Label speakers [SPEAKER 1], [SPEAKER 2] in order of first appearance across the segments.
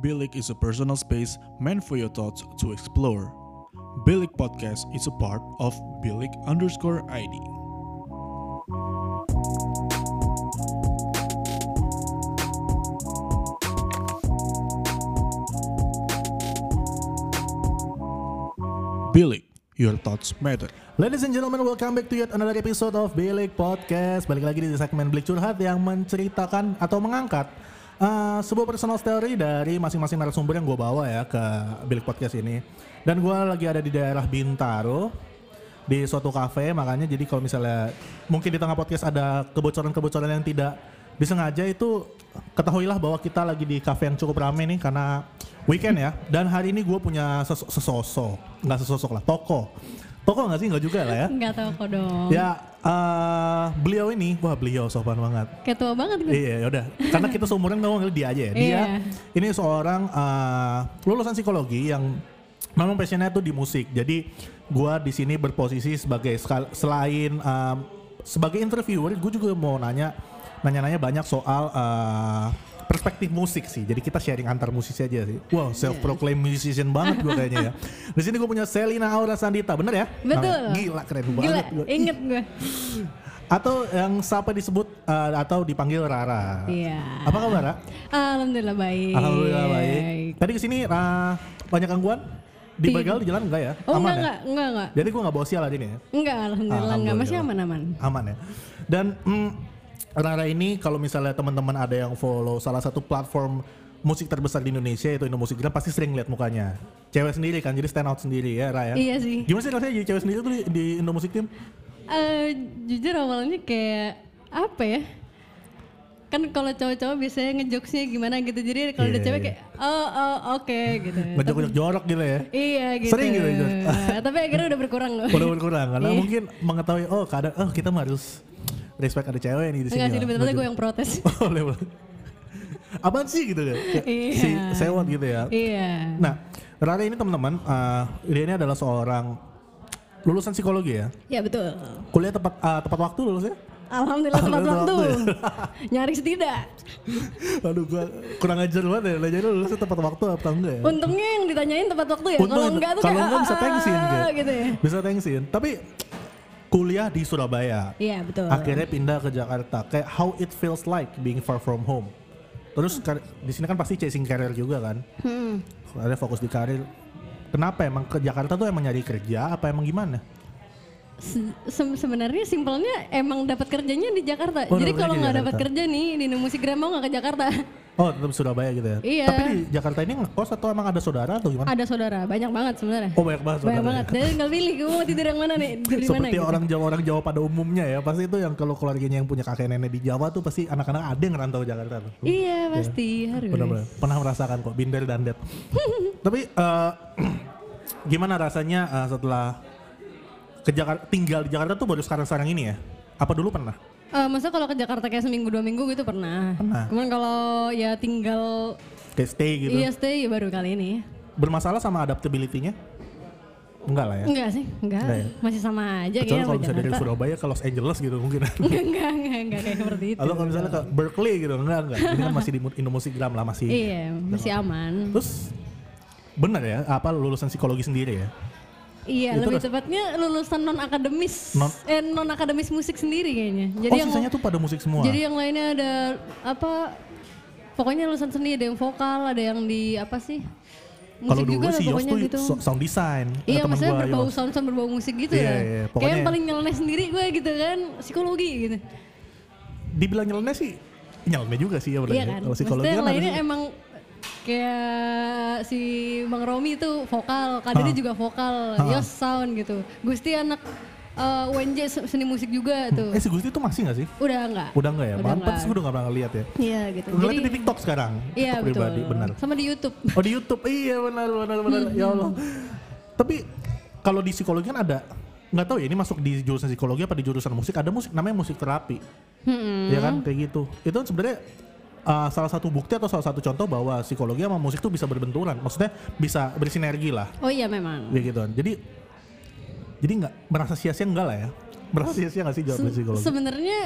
[SPEAKER 1] Bilik is a personal space meant for your thoughts to explore. Bilik Podcast is a part of Bilik underscore ID. Bilik, your thoughts matter.
[SPEAKER 2] Ladies and gentlemen, welcome back to yet another episode of Bilik Podcast. Balik lagi di segmen Bilik Curhat yang menceritakan atau mengangkat eh, sebuah personal story dari masing-masing narasumber yang gue bawa ya ke Bilik Podcast ini. Dan gue lagi ada di daerah Bintaro di suatu kafe, makanya jadi kalau misalnya mungkin di tengah podcast ada kebocoran-kebocoran yang tidak disengaja itu ketahuilah bahwa kita lagi di kafe yang cukup ramai nih karena weekend ya. Dan hari ini gue punya seso- sesosok, nggak sesosok lah, toko. Toko nggak sih? Nggak juga lah ya.
[SPEAKER 3] Enggak tahu kok dong.
[SPEAKER 2] Ya, eh, beliau ini, wah beliau sopan banget.
[SPEAKER 3] Kayak tua banget gue.
[SPEAKER 2] Iya, yaudah. Karena kita seumuran nggak mau ngelih dia aja ya. Dia
[SPEAKER 3] Iya.
[SPEAKER 2] ini seorang eh, lulusan psikologi yang memang passionnya tuh di musik. Jadi gua di sini berposisi sebagai skal- selain eh, sebagai interviewer, gue juga mau nanya nanya-nanya banyak soal eh, perspektif musik sih. Jadi kita sharing antar musisi aja sih. Wow,
[SPEAKER 3] Iya.
[SPEAKER 2] self proclaim musician banget gue kayaknya ya. Di sini gue punya Selina Aura Sandita, bener ya?
[SPEAKER 3] Betul.
[SPEAKER 2] Namanya. Gila keren
[SPEAKER 3] Gila,
[SPEAKER 2] banget. gua.
[SPEAKER 3] inget gue.
[SPEAKER 2] Atau yang siapa disebut eh, atau dipanggil Rara.
[SPEAKER 3] Iya.
[SPEAKER 2] Apa kabar, Ra?
[SPEAKER 3] Alhamdulillah baik.
[SPEAKER 2] Alhamdulillah
[SPEAKER 3] iya,
[SPEAKER 2] baik. Tadi kesini Ra, banyak gangguan? Di
[SPEAKER 3] Tidak.
[SPEAKER 2] begal di jalan enggak ya?
[SPEAKER 3] Oh
[SPEAKER 2] aman
[SPEAKER 3] enggak, enggak,
[SPEAKER 2] ya?
[SPEAKER 3] enggak, enggak.
[SPEAKER 2] Jadi gue nggak bawa sial hari ini ya?
[SPEAKER 3] Enggak, alhamdulillah enggak. Masih
[SPEAKER 2] Alhamdulillah.
[SPEAKER 3] aman-aman.
[SPEAKER 2] Aman ya. Dan mm, Rara ini kalau misalnya teman-teman ada yang follow salah satu platform musik terbesar di Indonesia yaitu Indomusikgram pasti sering lihat mukanya. Cewek sendiri kan jadi stand out sendiri ya Ra ya?
[SPEAKER 3] Iya sih.
[SPEAKER 2] Gimana sih rasanya jadi cewek sendiri tuh di, di Indomusik Team?
[SPEAKER 3] Eh, jujur awalnya kayak apa ya? Kan kalau cowok-cowok biasanya ngejokesnya gimana gitu. Jadi kalau ada
[SPEAKER 2] Iya,
[SPEAKER 3] cewek
[SPEAKER 2] iya.
[SPEAKER 3] kayak oh oh oke gitu.
[SPEAKER 2] Ngejok-ngejok jorok gitu ya?
[SPEAKER 3] Iya gitu. Eh,
[SPEAKER 2] Sering gitu, Jor.
[SPEAKER 3] Tapi akhirnya udah berkurang loh.
[SPEAKER 2] Udah berkurang karena
[SPEAKER 3] Iya.
[SPEAKER 2] mungkin mengetahui oh kadang oh kita mah harus respect ada cewek nih di sini.
[SPEAKER 3] Enggak sih,
[SPEAKER 2] lah.
[SPEAKER 3] betul-betul gue yang protes.
[SPEAKER 2] Oh, level. Apaan sih gitu kan? Kayak
[SPEAKER 3] Iya.
[SPEAKER 2] Si sewot gitu ya.
[SPEAKER 3] Iya.
[SPEAKER 2] Nah, Rara ini teman-teman, eh, dia ini adalah seorang lulusan psikologi ya.
[SPEAKER 3] Ya betul.
[SPEAKER 2] Kuliah tepat eh, tepat waktu lulusnya?
[SPEAKER 3] Alhamdulillah tepat
[SPEAKER 2] Alhamdulillah
[SPEAKER 3] waktu.
[SPEAKER 2] tepat
[SPEAKER 3] Nyaris tidak.
[SPEAKER 2] Aduh, gua kurang ajar banget ya. Belajar lulusnya tepat waktu apa enggak ya?
[SPEAKER 3] Untungnya yang ditanyain tepat waktu ya.
[SPEAKER 2] Untung
[SPEAKER 3] Kalau Oh, enggak tuh
[SPEAKER 2] kalau
[SPEAKER 3] kayak,
[SPEAKER 2] enggak bisa
[SPEAKER 3] "Ah,
[SPEAKER 2] thanksin
[SPEAKER 3] ah,
[SPEAKER 2] dia.
[SPEAKER 3] ah," gitu ya.
[SPEAKER 2] Bisa thanksin. Tapi kuliah di Surabaya.
[SPEAKER 3] Iya, betul.
[SPEAKER 2] Akhirnya pindah ke Jakarta. Kayak how it feels like being far from home. Terus kar- di sini kan pasti chasing career juga kan.
[SPEAKER 3] Hmm.
[SPEAKER 2] Ada fokus di karir. Kenapa emang ke Jakarta tuh emang nyari kerja apa emang gimana?
[SPEAKER 3] Se- se- sebenarnya simpelnya emang dapat kerjanya di Jakarta.
[SPEAKER 2] Oh,
[SPEAKER 3] Jadi
[SPEAKER 2] dapat kerja
[SPEAKER 3] kalau
[SPEAKER 2] di
[SPEAKER 3] nggak dapat
[SPEAKER 2] Jakarta.
[SPEAKER 3] kerja nih di Musikgram mau nggak ke Jakarta?
[SPEAKER 2] Oh tetap Surabaya gitu ya.
[SPEAKER 3] Iya.
[SPEAKER 2] Tapi di Jakarta ini ngekos atau emang ada saudara atau gimana?
[SPEAKER 3] Ada saudara, banyak banget sebenarnya.
[SPEAKER 2] Oh banyak banget saudara.
[SPEAKER 3] banyak banget. Dan tinggal pilih gue mau tidur yang mana nih? Tidur di mana
[SPEAKER 2] Seperti
[SPEAKER 3] gitu.
[SPEAKER 2] orang Jawa orang Jawa pada umumnya ya pasti itu yang kalau keluarganya yang punya kakek nenek di Jawa tuh pasti anak-anak ada yang ngerantau ke Jakarta tuh.
[SPEAKER 3] Iya, pasti harus.
[SPEAKER 2] Benar-benar pernah merasakan kok binder dan det. Tapi eh, gimana rasanya eh, setelah ke Jakarta tinggal di Jakarta tuh baru sekarang-sekarang ini ya? Apa dulu pernah?
[SPEAKER 3] Eh, masa kalau ke Jakarta kayak seminggu dua minggu gitu pernah.
[SPEAKER 2] Pernah.
[SPEAKER 3] Cuman kalau ya tinggal
[SPEAKER 2] Kayak stay gitu.
[SPEAKER 3] iya stay ya baru kali ini.
[SPEAKER 2] Bermasalah sama adaptability-nya? Enggak lah ya.
[SPEAKER 3] Enggak sih, enggak.
[SPEAKER 2] Enggak ya?
[SPEAKER 3] Masih sama aja
[SPEAKER 2] Kecuali
[SPEAKER 3] kayaknya
[SPEAKER 2] kalau
[SPEAKER 3] sama
[SPEAKER 2] misalnya dari
[SPEAKER 3] Jakarta.
[SPEAKER 2] Surabaya ke Los Angeles gitu mungkin.
[SPEAKER 3] Enggak, enggak, enggak, enggak kayak seperti itu.
[SPEAKER 2] Atau kalau misalnya ke Berkeley gitu, enggak enggak. Ini kan masih di mu- Indomusikgram lah masih.
[SPEAKER 3] Iya, masih aman.
[SPEAKER 2] Terus benar ya, apa lulusan psikologi sendiri ya?
[SPEAKER 3] Iya,
[SPEAKER 2] itu
[SPEAKER 3] lebih
[SPEAKER 2] ras-
[SPEAKER 3] tepatnya lulusan non akademis,
[SPEAKER 2] Gitu Non-
[SPEAKER 3] eh non akademis musik sendiri kayaknya. Jadi
[SPEAKER 2] oh
[SPEAKER 3] yang
[SPEAKER 2] sisanya tuh pada musik semua.
[SPEAKER 3] jadi yang lainnya ada apa? Pokoknya lulusan seni ada yang vokal, ada yang di apa sih?
[SPEAKER 2] kalau
[SPEAKER 3] Musik
[SPEAKER 2] dulu
[SPEAKER 3] juga lah
[SPEAKER 2] sih Yos
[SPEAKER 3] pokoknya
[SPEAKER 2] tuh
[SPEAKER 3] gitu.
[SPEAKER 2] so- sound design. Ada
[SPEAKER 3] Iya,
[SPEAKER 2] teman
[SPEAKER 3] maksudnya
[SPEAKER 2] gua,
[SPEAKER 3] berbau
[SPEAKER 2] Yos.
[SPEAKER 3] sound sound berbau musik gitu
[SPEAKER 2] Iya,
[SPEAKER 3] ya.
[SPEAKER 2] iya,
[SPEAKER 3] Kayak
[SPEAKER 2] pokoknya-
[SPEAKER 3] yang paling nyeleneh sendiri gue gitu kan, psikologi gitu.
[SPEAKER 2] Dibilang nyeleneh sih, nyeleneh juga sih ya
[SPEAKER 3] Iya
[SPEAKER 2] berarti.
[SPEAKER 3] kan?
[SPEAKER 2] Kalau psikologi
[SPEAKER 3] Maksudnya
[SPEAKER 2] kan
[SPEAKER 3] yang
[SPEAKER 2] ada
[SPEAKER 3] lainnya
[SPEAKER 2] sih.
[SPEAKER 3] emang kayak si Bang Romi itu vokal, Kak
[SPEAKER 2] Ah.
[SPEAKER 3] Deddy juga vokal,
[SPEAKER 2] Ha.
[SPEAKER 3] Yos Sound gitu. Gusti anak eh, UNJ se- seni musik juga tuh.
[SPEAKER 2] Eh si Gusti tuh masih gak sih?
[SPEAKER 3] Udah enggak?
[SPEAKER 2] Udah enggak ya?
[SPEAKER 3] Udah
[SPEAKER 2] Pantes
[SPEAKER 3] enggak.
[SPEAKER 2] gue udah gak pernah ngeliat ya.
[SPEAKER 3] Iya gitu.
[SPEAKER 2] Ngeliatnya di TikTok sekarang.
[SPEAKER 3] iya
[SPEAKER 2] TikTok
[SPEAKER 3] betul.
[SPEAKER 2] pribadi, benar.
[SPEAKER 3] Sama di YouTube.
[SPEAKER 2] Oh di YouTube, iya benar benar benar. ya Allah. Tapi kalau di psikologi kan ada nggak tahu ya ini masuk di jurusan psikologi apa di jurusan musik ada musik namanya musik terapi,
[SPEAKER 3] Mm-mm.
[SPEAKER 2] ya kan kayak gitu. Itu kan sebenarnya uh, salah satu bukti atau salah satu contoh bahwa psikologi sama musik tuh bisa berbenturan, maksudnya bisa bersinergi lah,
[SPEAKER 3] Oh iya memang.
[SPEAKER 2] kayak gitu kan. Jadi jadi nggak merasa sia-sia enggak lah ya? Merasa sia-sia nggak sih jawaban
[SPEAKER 3] Oh, Se-
[SPEAKER 2] psikologi? Iya.
[SPEAKER 3] Sebenarnya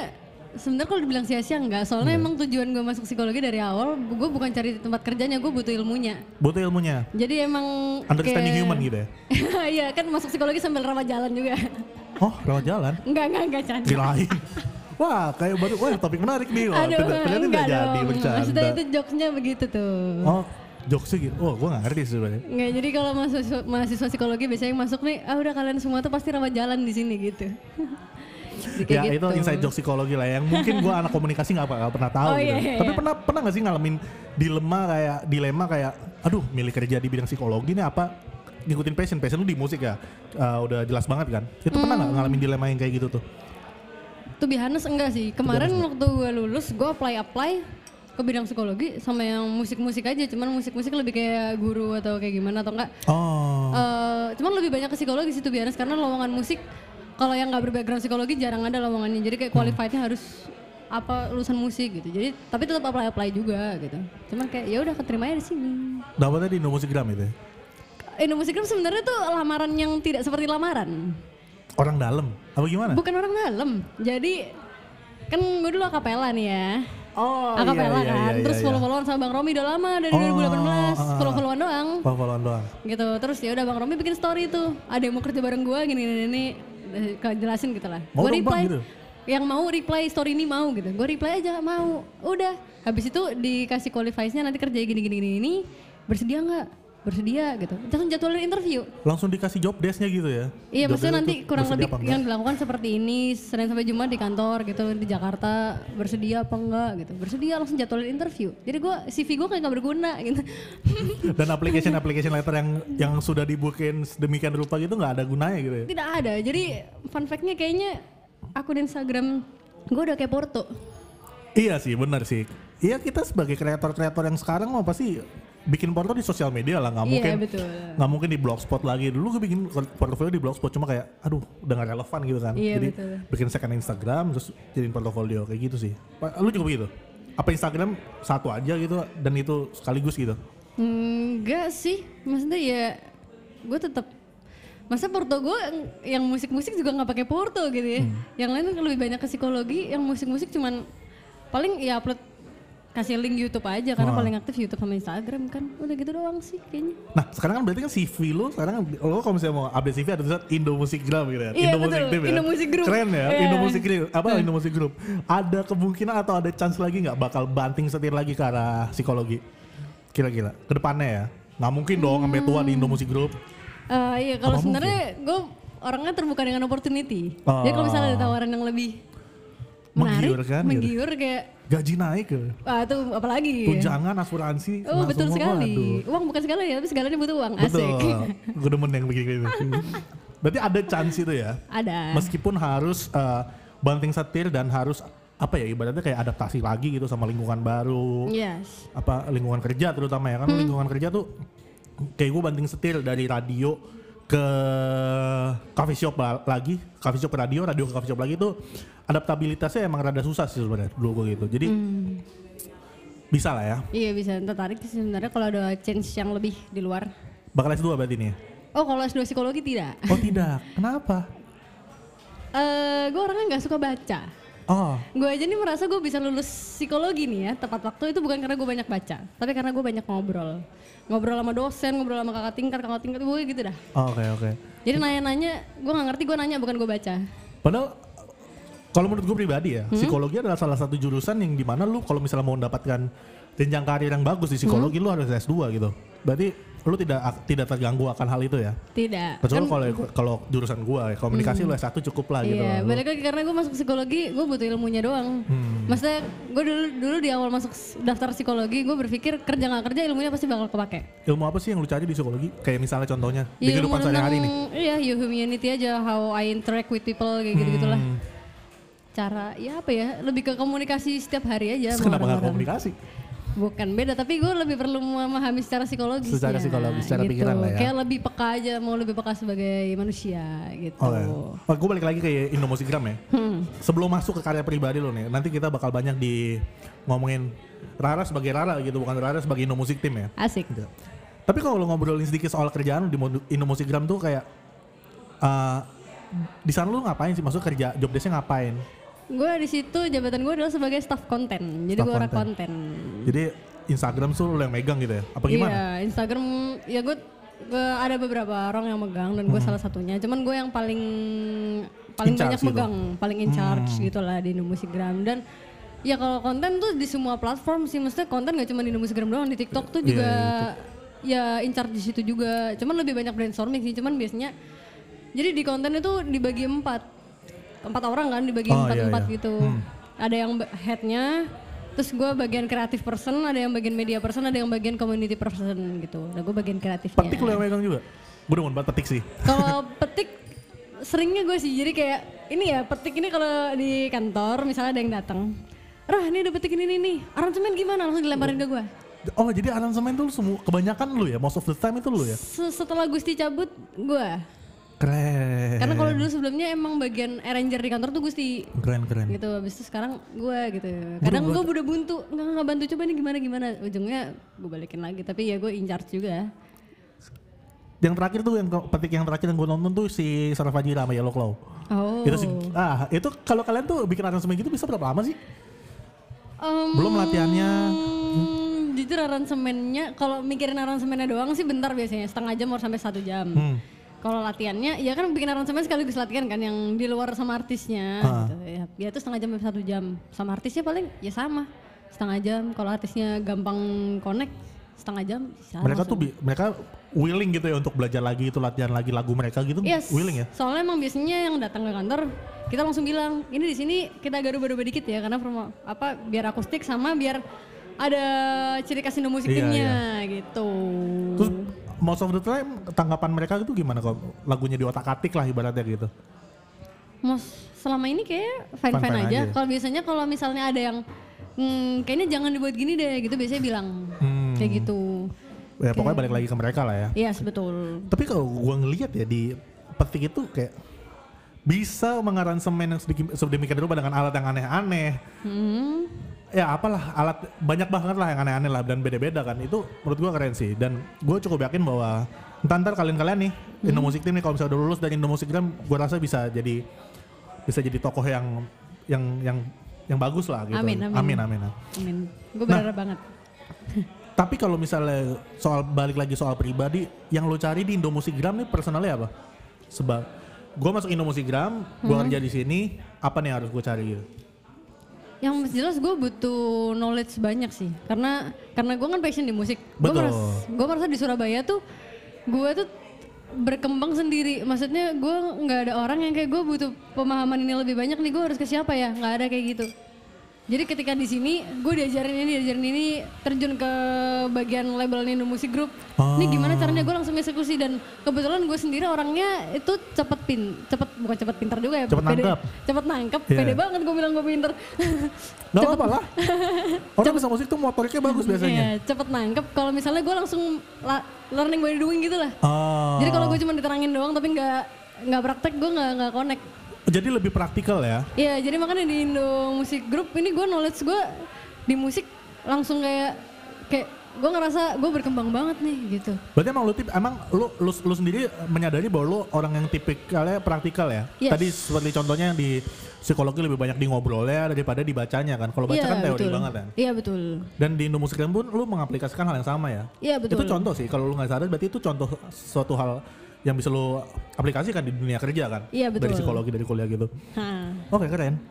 [SPEAKER 3] Sebenarnya kalau dibilang sia-sia enggak, soalnya emang tujuan gue masuk psikologi dari awal, gue bukan cari tempat kerjanya, gue butuh ilmunya.
[SPEAKER 2] Butuh ilmunya.
[SPEAKER 3] Jadi emang
[SPEAKER 2] Understanding
[SPEAKER 3] kayak-
[SPEAKER 2] human gitu ya.
[SPEAKER 3] Iya kan masuk psikologi sambil rawat jalan juga.
[SPEAKER 2] Oh, rawat jalan.
[SPEAKER 3] enggak enggak enggak canda.
[SPEAKER 2] Kirain. Wah, kayak baru wah topik menarik nih. Wah, tidak,
[SPEAKER 3] Aduh,
[SPEAKER 2] ternyata tidak
[SPEAKER 3] enggak
[SPEAKER 2] jadi
[SPEAKER 3] dong.
[SPEAKER 2] bercanda.
[SPEAKER 3] Maksudnya itu jokesnya begitu tuh.
[SPEAKER 2] Oh, jokesnya gitu. Oh, gua gak ngerti sih sebenarnya.
[SPEAKER 3] Enggak, jadi kalau mahasiswa, mahasiswa psikologi biasanya yang masuk nih, ah udah kalian semua tuh pasti rawat jalan di sini gitu. Jadi kayak
[SPEAKER 2] Ya itu
[SPEAKER 3] gitu.
[SPEAKER 2] inside joke psikologi lah ya. yang mungkin gua anak komunikasi nggak apa- nggak pernah tahu.
[SPEAKER 3] Oh,
[SPEAKER 2] gitu.
[SPEAKER 3] iya, iya,
[SPEAKER 2] Tapi
[SPEAKER 3] iya.
[SPEAKER 2] pernah pernah nggak sih ngalamin dilema kayak dilema kayak, aduh milih kerja di bidang psikologi nih apa ngikutin passion passion lu di musik ya Eh, udah jelas banget kan itu pernah
[SPEAKER 3] Hmm.
[SPEAKER 2] nggak ngalamin dilema yang kayak gitu tuh
[SPEAKER 3] To be honest, enggak sih. Kemarin waktu gue lulus, gue apply-apply ke bidang psikologi sama yang musik-musik aja. Cuman musik-musik lebih kayak guru atau kayak gimana atau enggak.
[SPEAKER 2] oh
[SPEAKER 3] Eh, cuman lebih banyak ke psikologi sih to be honest. Karena lowongan musik, kalau yang nggak berbackground psikologi jarang ada lowongannya. Jadi
[SPEAKER 2] Hmm.
[SPEAKER 3] kayak qualified-nya harus apa lulusan musik gitu. Jadi tapi tetap apply-apply juga gitu. Cuman kayak ya udah keterima aja di sini.
[SPEAKER 2] dapatnya di Indo Musik Gram itu ya?
[SPEAKER 3] Indo Music Room sebenarnya tuh lamaran yang tidak seperti lamaran.
[SPEAKER 2] Nah. orang dalam apa gimana
[SPEAKER 3] Bukan orang dalam. Jadi kan gue dulu akapela nih ya.
[SPEAKER 2] oh
[SPEAKER 3] akapela kan.
[SPEAKER 2] iya,
[SPEAKER 3] Terus follow-followan sama Bang Romi udah lama dari
[SPEAKER 2] Oh,
[SPEAKER 3] 2018.
[SPEAKER 2] ah.
[SPEAKER 3] Follow-followan doang
[SPEAKER 2] follow followan doang
[SPEAKER 3] gitu. Terus ya udah Bang Romi bikin story tuh. Ada yang mau kerja bareng gue gini gini, gini. Eh, ke- jelasin gitu lah.
[SPEAKER 2] Mau
[SPEAKER 3] Gue
[SPEAKER 2] dong, Bang,
[SPEAKER 3] reply.
[SPEAKER 2] gitu.
[SPEAKER 3] Yang mau reply story ini mau gitu. Gue reply aja mau. Udah. Habis itu dikasih qualifies-nya nanti kerja gini gini gini ini. Bersedia nggak? Bersedia gitu. Langsung jadwalin interview.
[SPEAKER 2] langsung dikasih job desk-nya gitu ya
[SPEAKER 3] Iya,
[SPEAKER 2] Job desk-nya
[SPEAKER 3] maksudnya nanti
[SPEAKER 2] tuh
[SPEAKER 3] kurang
[SPEAKER 2] bersedia
[SPEAKER 3] lebih
[SPEAKER 2] apa enggak?
[SPEAKER 3] yang dilakukan seperti ini Senin sampai Jumat di kantor gitu di Jakarta bersedia apa enggak gitu bersedia langsung jadwalin interview jadi gue CV gue kayak gak berguna gitu
[SPEAKER 2] dan application application letter yang yang sudah dibukin demikian rupa gitu nggak ada gunanya gitu ya
[SPEAKER 3] tidak ada jadi fun fact-nya kayaknya aku di Instagram gue udah kayak Porto
[SPEAKER 2] iya sih benar sih iya kita sebagai kreator kreator yang sekarang mah pasti bikin porto di sosial media lah nggak
[SPEAKER 3] Iya,
[SPEAKER 2] mungkin
[SPEAKER 3] betul.
[SPEAKER 2] nggak mungkin di blogspot lagi dulu gue bikin portofolio di blogspot cuma kayak aduh udah nggak relevan gitu kan
[SPEAKER 3] Iya,
[SPEAKER 2] jadi
[SPEAKER 3] betul.
[SPEAKER 2] bikin second Instagram terus jadiin portofolio kayak gitu sih Pa- lu juga begitu apa Instagram satu aja gitu dan itu sekaligus gitu
[SPEAKER 3] enggak sih maksudnya ya gue tetap masa Porto gue yang musik-musik juga nggak pakai Porto gitu ya
[SPEAKER 2] Hmm.
[SPEAKER 3] yang lain lebih banyak ke psikologi yang musik-musik cuman paling ya upload kasih link YouTube aja karena paling aktif YouTube sama Instagram kan udah gitu doang sih kayaknya
[SPEAKER 2] Nah sekarang kan berarti kan CV lu sekarang lo kalau misalnya mau update CV ada tulisan Indo Music Gram gitu ya.
[SPEAKER 3] Iya,
[SPEAKER 2] Indo Music Gram
[SPEAKER 3] betul.
[SPEAKER 2] ya.
[SPEAKER 3] Indo Music Group.
[SPEAKER 2] Keren ya,
[SPEAKER 3] Iya.
[SPEAKER 2] Indo Music Group. Apa Indo Music Group? Ada kemungkinan atau ada chance lagi nggak bakal banting setir lagi ke arah psikologi? Kira-kira kedepannya ya. Nggak mungkin dong sampai
[SPEAKER 3] Hmm.
[SPEAKER 2] tua di Indo Music Group.
[SPEAKER 3] Eh, iya kalau sebenarnya gue orangnya terbuka dengan opportunity jadi kalau misalnya ada tawaran yang lebih
[SPEAKER 2] Ah.
[SPEAKER 3] menarik
[SPEAKER 2] Menggiurkan gitu.
[SPEAKER 3] menggiur kayak
[SPEAKER 2] Gaji naik ke
[SPEAKER 3] ah itu apalagi
[SPEAKER 2] tunjangan asuransi.
[SPEAKER 3] oh
[SPEAKER 2] langsung,
[SPEAKER 3] betul sekali
[SPEAKER 2] waduh.
[SPEAKER 3] uang bukan segala ya tapi segalanya butuh uang
[SPEAKER 2] Betul.
[SPEAKER 3] asik
[SPEAKER 2] Gue demen yang begini. berarti ada chance itu ya.
[SPEAKER 3] ada
[SPEAKER 2] Meskipun harus eh, banting setir dan harus apa ya ibaratnya kayak adaptasi lagi gitu sama lingkungan baru,
[SPEAKER 3] Iya. Yes.
[SPEAKER 2] apa lingkungan kerja terutama ya kan lingkungan kerja tuh kayak gue banting setir dari radio ke coffee shop la- lagi, coffee shop ke radio, radio ke coffee shop lagi tuh adaptabilitasnya emang rada susah sih sebenarnya dulu gue gitu. Jadi bisa lah ya.
[SPEAKER 3] Iya bisa tertarik sih sebenarnya kalau ada change yang lebih di luar.
[SPEAKER 2] Bakal S2 berarti nih. ya?
[SPEAKER 3] Oh kalau S2 psikologi tidak.
[SPEAKER 2] Oh tidak. Kenapa?
[SPEAKER 3] Eh gue orangnya nggak suka baca.
[SPEAKER 2] Oh,
[SPEAKER 3] Gue aja nih merasa gue bisa lulus psikologi nih ya tepat waktu itu bukan karena gue banyak baca, tapi karena gue banyak ngobrol. Ngobrol sama dosen, ngobrol sama kakak tingkat, kakak tingkat gue gitu dah.
[SPEAKER 2] oke oke.
[SPEAKER 3] Jadi nanya-nanya, gue nggak ngerti gue nanya bukan gue baca.
[SPEAKER 2] Padahal kalau menurut gue pribadi
[SPEAKER 3] Hmm?
[SPEAKER 2] ya, psikologi adalah salah satu jurusan yang dimana lu kalau misalnya mau mendapatkan jenjang karir yang bagus di
[SPEAKER 3] Hmm?
[SPEAKER 2] psikologi lu harus S2 gitu. Berarti lu tidak tidak terganggu akan hal itu ya.
[SPEAKER 3] Tidak. Kan
[SPEAKER 2] Kecuali kalau kalau jurusan gua ya, komunikasi lu S1 cukup lah gitu.
[SPEAKER 3] Hmm. Iya,
[SPEAKER 2] loh.
[SPEAKER 3] balik lagi karena gue masuk psikologi, gue butuh ilmunya doang.
[SPEAKER 2] Hmm.
[SPEAKER 3] Maksudnya gue dulu dulu di awal masuk s- daftar psikologi, gue berpikir kerja nggak kerja ilmunya pasti bakal kepake.
[SPEAKER 2] Ilmu apa sih yang lu cari di psikologi? Kayak misalnya contohnya di
[SPEAKER 3] Iya,
[SPEAKER 2] kehidupan
[SPEAKER 3] ilmu
[SPEAKER 2] sehari-hari nih.
[SPEAKER 3] tentang- Iya, you humanity aja, how I interact with people, kayak
[SPEAKER 2] Hmm.
[SPEAKER 3] gitu-gitulah. Cara, ya apa ya, lebih ke komunikasi setiap hari aja.
[SPEAKER 2] Terus
[SPEAKER 3] sama
[SPEAKER 2] kenapa nggak
[SPEAKER 3] orang-orang.
[SPEAKER 2] komunikasi?
[SPEAKER 3] Bukan beda, tapi gue lebih perlu memahami secara psikologis.
[SPEAKER 2] Secara psikologis, secara pikiran lah ya.
[SPEAKER 3] gitu. Kayak lebih peka aja, mau lebih peka sebagai manusia gitu.
[SPEAKER 2] Oke. Oh, gue balik lagi ke Indo Musigram ya.
[SPEAKER 3] Hmm.
[SPEAKER 2] Sebelum masuk ke karya pribadi lo nih, nanti kita bakal banyak di ngomongin Rara sebagai Rara gitu, bukan Rara sebagai Indo Musik Tim ya.
[SPEAKER 3] Asik.
[SPEAKER 2] Gitu. Tapi kalau lo ngobrolin sedikit soal kerjaan lu di Mod- Indo Musigram tuh kayak eh, di sana lu ngapain sih? Maksudnya kerja job desk-nya ngapain?
[SPEAKER 3] Gue di situ jabatan gue adalah sebagai staff konten. Jadi
[SPEAKER 2] Staff
[SPEAKER 3] gue orang
[SPEAKER 2] konten.
[SPEAKER 3] konten.
[SPEAKER 2] Jadi Instagram tuh lu yang megang gitu ya? Apa gimana?
[SPEAKER 3] Iya, Instagram ya gue ada beberapa orang yang megang dan
[SPEAKER 2] Mhm.
[SPEAKER 3] gue salah satunya. Cuman gue yang paling
[SPEAKER 2] In
[SPEAKER 3] paling
[SPEAKER 2] charge
[SPEAKER 3] banyak
[SPEAKER 2] gitu. Hmm.
[SPEAKER 3] megang, paling in charge gitu lah di Indomusikgram dan ya kalau konten tuh di semua platform sih maksudnya konten gak cuma di Indomusikgram doang, di TikTok tuh
[SPEAKER 2] Iya,
[SPEAKER 3] juga ya in charge di situ juga. Cuman lebih banyak brainstorming sih, cuman biasanya jadi di konten itu dibagi empat empat orang kan dibagi
[SPEAKER 2] Oh,
[SPEAKER 3] empat
[SPEAKER 2] iya,
[SPEAKER 3] empat
[SPEAKER 2] iya.
[SPEAKER 3] gitu ada yang ba- headnya terus gue bagian kreatif person ada yang bagian media person ada yang bagian community person gitu nah gue bagian kreatifnya
[SPEAKER 2] Petik lu yang megang juga? Gue demen banget petik sih.
[SPEAKER 3] kalau petik seringnya gue sih jadi kayak ini ya petik ini kalau di kantor misalnya ada yang datang Rah ini ada petik ini nih nih aransemen gimana langsung dilemparin ke gue
[SPEAKER 2] Oh jadi aransemen tuh lu semua kebanyakan lu ya? Most of the time itu lu ya?
[SPEAKER 3] Se- setelah Gusti cabut gue
[SPEAKER 2] Keren.
[SPEAKER 3] karena kalau dulu sebelumnya emang bagian arranger di kantor tuh Gusti
[SPEAKER 2] keren keren.
[SPEAKER 3] gitu habis itu sekarang gue gitu kadang gue udah buntu nggak nggak bantu coba nih gimana gimana ujungnya gue balikin lagi tapi ya gue in charge juga
[SPEAKER 2] Yang terakhir tuh yang ke- petik yang terakhir yang gue nonton tuh si Sarah Fajira sama Yellow Claw.
[SPEAKER 3] oh
[SPEAKER 2] Itu sih. Ah itu kalau kalian tuh bikin aransemen gitu bisa berapa lama sih?
[SPEAKER 3] Em, hmm,
[SPEAKER 2] Belum latihannya.
[SPEAKER 3] jujur aransemennya kalau mikirin aransemennya doang sih bentar biasanya setengah jam or sampai satu jam
[SPEAKER 2] Hmm.
[SPEAKER 3] kalau latihannya ya kan bikin aransemen sekaligus latihan kan yang di luar sama artisnya
[SPEAKER 2] Ah.
[SPEAKER 3] gitu ya ya itu setengah jam sampai satu jam sama artisnya paling ya sama setengah jam kalau artisnya gampang connect setengah jam bisa
[SPEAKER 2] mereka
[SPEAKER 3] langsung.
[SPEAKER 2] tuh bi- mereka willing gitu ya untuk belajar lagi itu latihan lagi lagu mereka gitu
[SPEAKER 3] Yes.
[SPEAKER 2] willing ya
[SPEAKER 3] Soalnya emang biasanya yang datang ke kantor kita langsung bilang ini di sini kita garuba-garuba dikit ya karena promo apa biar akustik sama biar ada ciri khas Indo musik
[SPEAKER 2] Iya,
[SPEAKER 3] timnya gitu.
[SPEAKER 2] terus most of the time tanggapan mereka itu gimana kok lagunya di otak atik lah ibaratnya gitu
[SPEAKER 3] Mos selama ini kayak fine fine
[SPEAKER 2] Fine-fine
[SPEAKER 3] aja.
[SPEAKER 2] aja. ya?
[SPEAKER 3] Kalau biasanya kalau misalnya ada yang "Hmm, kayaknya jangan dibuat gini deh gitu biasanya bilang
[SPEAKER 2] Hmm.
[SPEAKER 3] kayak gitu.
[SPEAKER 2] ya pokoknya balik lagi ke mereka lah ya
[SPEAKER 3] Iya betul.
[SPEAKER 2] tapi kalau gua ngelihat ya di petik itu kayak bisa mengaransemen yang sedikit sedemikian rupa dengan alat yang aneh-aneh
[SPEAKER 3] Hmm.
[SPEAKER 2] ya apalah alat banyak banget lah yang aneh-aneh lah dan beda-beda kan itu menurut gua keren sih dan gua cukup yakin bahwa entar ntar kalian-kalian nih
[SPEAKER 3] Hmm.
[SPEAKER 2] Indo Music Team nih kalau misalnya udah lulus dari Indo Music Team gua rasa bisa jadi bisa jadi tokoh yang yang yang yang bagus lah gitu
[SPEAKER 3] Amin, amin.
[SPEAKER 2] amin, amin.
[SPEAKER 3] Amin.
[SPEAKER 2] Nah,
[SPEAKER 3] Gue berharap banget.
[SPEAKER 2] Tapi kalau misalnya soal balik lagi soal pribadi, yang lo cari di Indomusikgram nih personalnya apa? Sebab gue masuk Indomusikgram, gue
[SPEAKER 3] Hmm.
[SPEAKER 2] kerja di sini, apa nih yang harus gue cari gitu?
[SPEAKER 3] Yang jelas gue butuh knowledge banyak sih, karena karena gue kan passion di musik. Gue
[SPEAKER 2] Betul.
[SPEAKER 3] merasa, gue merasa di Surabaya tuh gue tuh berkembang sendiri. Maksudnya gue nggak ada orang yang kayak gue butuh pemahaman ini lebih banyak nih. Gue harus ke siapa ya? Nggak ada kayak gitu. Jadi ketika di sini gue diajarin ini, diajarin ini, terjun ke bagian label Nindo Musik Group.
[SPEAKER 2] Ah.
[SPEAKER 3] Ini gimana caranya gue langsung eksekusi dan kebetulan gue sendiri orangnya itu cepet pin, cepet bukan cepet pintar juga ya.
[SPEAKER 2] Cepet
[SPEAKER 3] pede-
[SPEAKER 2] nangkep.
[SPEAKER 3] Cepet nangkep,
[SPEAKER 2] Iya.
[SPEAKER 3] pede banget gue bilang gue pinter.
[SPEAKER 2] Gak apa-apa lah. Orang bisa musik tuh motoriknya bagus biasanya.
[SPEAKER 3] Iya, cepet nangkep. Kalau misalnya gue langsung la- learning by doing gitu lah.
[SPEAKER 2] Ah,
[SPEAKER 3] Jadi kalau gue cuma diterangin doang tapi nggak nggak praktek gue nggak nggak connect.
[SPEAKER 2] jadi lebih praktikal ya.
[SPEAKER 3] Iya, jadi makanya di Indo Musik Group ini gue knowledge gue di musik langsung kayak kayak gue ngerasa gue berkembang banget nih gitu.
[SPEAKER 2] Berarti emang lu tip, emang lu, lu, lu sendiri menyadari bahwa lu orang yang tipikalnya praktikal ya.
[SPEAKER 3] Yes.
[SPEAKER 2] Tadi seperti contohnya yang di psikologi lebih banyak di ngobrolnya daripada dibacanya kan. Kalau baca
[SPEAKER 3] Iya,
[SPEAKER 2] kan teori
[SPEAKER 3] betul.
[SPEAKER 2] banget kan.
[SPEAKER 3] Iya betul.
[SPEAKER 2] Dan di Indo Musikgram pun lu mengaplikasikan hal yang sama ya.
[SPEAKER 3] Iya betul.
[SPEAKER 2] Itu contoh sih, kalau lu nggak sadar berarti itu contoh suatu hal yang bisa lu aplikasikan di dunia kerja kan?
[SPEAKER 3] Iya, betul.
[SPEAKER 2] Dari psikologi, dari kuliah gitu.
[SPEAKER 3] Hah.
[SPEAKER 2] Oke keren.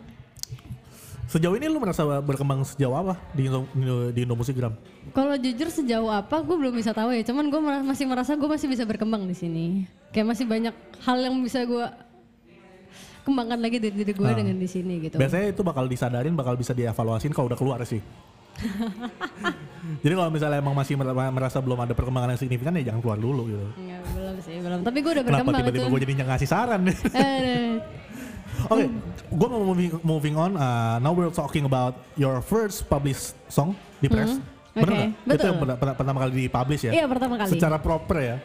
[SPEAKER 2] Sejauh ini lu merasa berkembang sejauh apa di Indo, di Indo Musikgram?
[SPEAKER 3] Kalau jujur sejauh apa gue belum bisa tahu ya. Cuman gue mera- masih merasa gue masih bisa berkembang di sini. Kayak masih banyak hal yang bisa gue kembangkan lagi dari diri
[SPEAKER 2] Ah.
[SPEAKER 3] gue dengan di sini gitu.
[SPEAKER 2] Biasanya itu bakal disadarin, bakal bisa dievaluasin kalau udah keluar sih. Jadi kalau misalnya emang masih mer- merasa belum ada perkembangan yang signifikan ya jangan keluar dulu gitu.
[SPEAKER 3] Nggak, belum sih, belum. Tapi gue udah
[SPEAKER 2] Kenapa
[SPEAKER 3] Iya, berkembang Eh,
[SPEAKER 2] tiba-tiba
[SPEAKER 3] itu.
[SPEAKER 2] gue jadi ngasih saran?
[SPEAKER 3] Aduh.
[SPEAKER 2] Oke, gue mau moving, moving on. uh, now we're talking about your first published song di press.
[SPEAKER 3] Mhm,
[SPEAKER 2] Bener
[SPEAKER 3] oke,
[SPEAKER 2] nggak? Itu
[SPEAKER 3] betul.
[SPEAKER 2] yang pertama, pertama kali dipublish ya?
[SPEAKER 3] Iya pertama kali.
[SPEAKER 2] Secara proper ya?